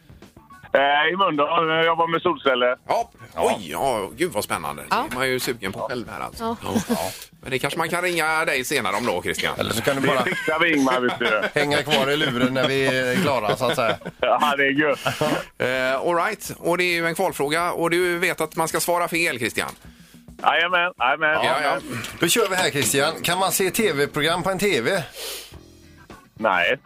[SPEAKER 1] Eh, I Mölndal. Jag jobbar med solceller.
[SPEAKER 4] Ja. Oj, ja, gud vad spännande. Det är man ju sugen på själv här alltså. Ja. Men det kanske man kan ringa dig senare om då, Christian.
[SPEAKER 5] Eller så kan du
[SPEAKER 1] Det
[SPEAKER 5] bara
[SPEAKER 1] fixar vi, Ingmar, vet du.
[SPEAKER 5] hänga kvar i luren när vi är klara så att säga.
[SPEAKER 1] Ja, det är gött.
[SPEAKER 4] Eh, all right. och det är ju en kvalfråga och du vet att man ska svara fel, Christian.
[SPEAKER 1] Jajamän, jajamän.
[SPEAKER 4] Ja, ja.
[SPEAKER 5] Då kör vi här Christian. Kan man se tv-program på en tv?
[SPEAKER 1] Nej.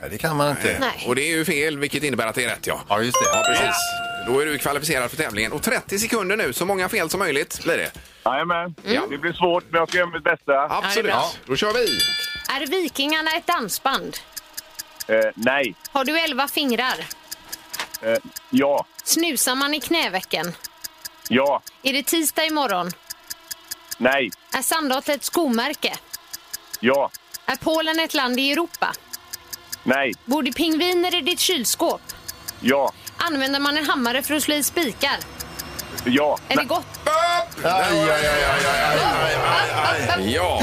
[SPEAKER 5] Nej, det kan man inte.
[SPEAKER 6] Nej.
[SPEAKER 4] Och det är ju fel, vilket innebär att det är rätt, ja.
[SPEAKER 5] Ja, just det.
[SPEAKER 4] Ja, precis. Då är du kvalificerad för tävlingen. Och 30 sekunder nu, så många fel som möjligt blir det.
[SPEAKER 1] Jajamän. Det blir svårt, men jag ska göra mitt bästa.
[SPEAKER 4] Absolut.
[SPEAKER 6] Ja,
[SPEAKER 4] Då kör vi.
[SPEAKER 6] Är Vikingarna ett dansband?
[SPEAKER 1] Eh, nej.
[SPEAKER 6] Har du elva fingrar?
[SPEAKER 1] Eh, ja.
[SPEAKER 6] Snusar man i knävecken?
[SPEAKER 1] Ja.
[SPEAKER 6] Är det tisdag imorgon?
[SPEAKER 1] Nej.
[SPEAKER 6] Är Sandholt ett skomärke?
[SPEAKER 1] Ja.
[SPEAKER 6] Är Polen ett land i Europa?
[SPEAKER 1] Nej.
[SPEAKER 6] Bor det pingviner i ditt kylskåp?
[SPEAKER 1] Ja.
[SPEAKER 6] Använder man en hammare för att slå i spikar?
[SPEAKER 1] Ja.
[SPEAKER 6] Är det gott?
[SPEAKER 5] Aj, aj, aj, aj, aj, aj.
[SPEAKER 4] Ja,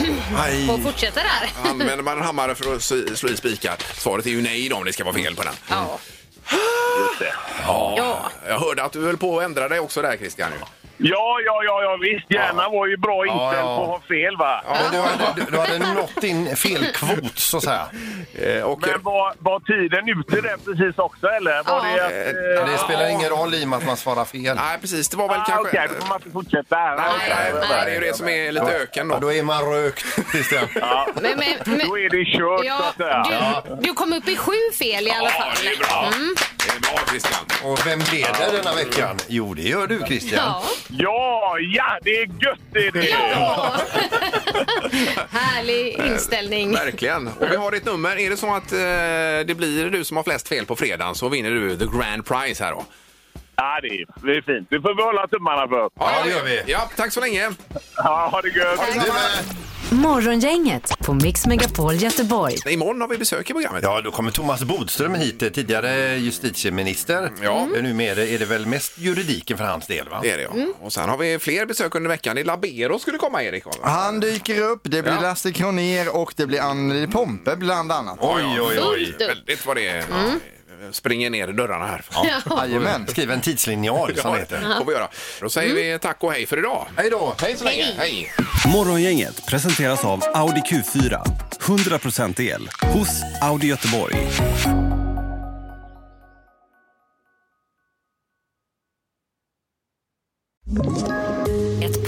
[SPEAKER 6] Får fortsätta där?
[SPEAKER 4] använder man en hammare för att sy- slå i spikar? Svaret är ju nej då, om det ska vara fel på den.
[SPEAKER 6] Ja.
[SPEAKER 1] Just det.
[SPEAKER 6] Ja.
[SPEAKER 4] Jag hörde att du höll på att ändra dig också där Christian. ju.
[SPEAKER 9] Ja, ja, ja, ja visst. Hjärnan var ju bra inställd
[SPEAKER 5] ja.
[SPEAKER 9] på att ha fel va?
[SPEAKER 5] Men du hade, du, du hade nått din felkvot så att säga.
[SPEAKER 4] Eh, och,
[SPEAKER 9] Men var, var tiden ute där precis också eller? Var
[SPEAKER 6] Ja.
[SPEAKER 9] det
[SPEAKER 4] Eh,
[SPEAKER 9] att...
[SPEAKER 5] Det spelar ingen roll i och med att man svarar fel.
[SPEAKER 4] Nej, precis. Det var väl
[SPEAKER 9] Ah,
[SPEAKER 4] kanske...
[SPEAKER 9] Okej, då får man inte fortsätta. här.
[SPEAKER 4] Nej, nej, nej, det är ju det som är lite öken
[SPEAKER 5] Ja,
[SPEAKER 4] då.
[SPEAKER 5] då är man rökt, Christian.
[SPEAKER 6] Men, men, men,
[SPEAKER 9] Då är det kört så
[SPEAKER 6] ja,
[SPEAKER 9] att säga.
[SPEAKER 6] du, du kom upp i sju fel i alla
[SPEAKER 4] Ja,
[SPEAKER 6] fall.
[SPEAKER 4] det är bra. Det är bra Christian.
[SPEAKER 5] Och vem leder denna veckan? Jo, det gör du, Christian.
[SPEAKER 6] Ja.
[SPEAKER 9] Ja, ja, det är gött det är det!
[SPEAKER 6] ja. Härlig inställning.
[SPEAKER 4] Verkligen. Och vi har ditt nummer. Är det så att eh, det blir du som har flest fel på fredagen så vinner du the grand prize här då.
[SPEAKER 9] Ja, det är, det är fint. Det får vi hålla tummarna för.
[SPEAKER 5] Ja, det gör vi.
[SPEAKER 4] Ja, tack så länge.
[SPEAKER 9] Ja, ha det gött!
[SPEAKER 5] Du med.
[SPEAKER 3] Morgongänget på Mix Megapol Göteborg.
[SPEAKER 4] Imorgon har vi besök i programmet.
[SPEAKER 5] Ja, då kommer Thomas Bodström hit, eh, tidigare justitieminister.
[SPEAKER 4] Ja.
[SPEAKER 5] Eh, Numera är det väl mest juridiken för hans del, va?
[SPEAKER 4] Det är det ja. Och sen har vi fler besök under veckan. I Labero skulle komma Erik. va?
[SPEAKER 7] Han dyker upp, det blir
[SPEAKER 4] Ja.
[SPEAKER 7] Lasse Kronér och det blir Anneli Pompe bland annat.
[SPEAKER 5] Oj, oj, oj.
[SPEAKER 6] Fullt upp.
[SPEAKER 4] Väldigt vad det är. Ja, Springer ner i dörrarna här. Ja,
[SPEAKER 7] Jajamän.
[SPEAKER 5] Skriv en tidslinjal, som det heter.
[SPEAKER 4] får vi göra. Då säger vi tack och hej för idag.
[SPEAKER 5] Hej då!
[SPEAKER 4] Hej så länge. Hej.
[SPEAKER 11] Morgongänget presenteras av Audi Q4. 100% el hos Audi Göteborg.
[SPEAKER 3] Ett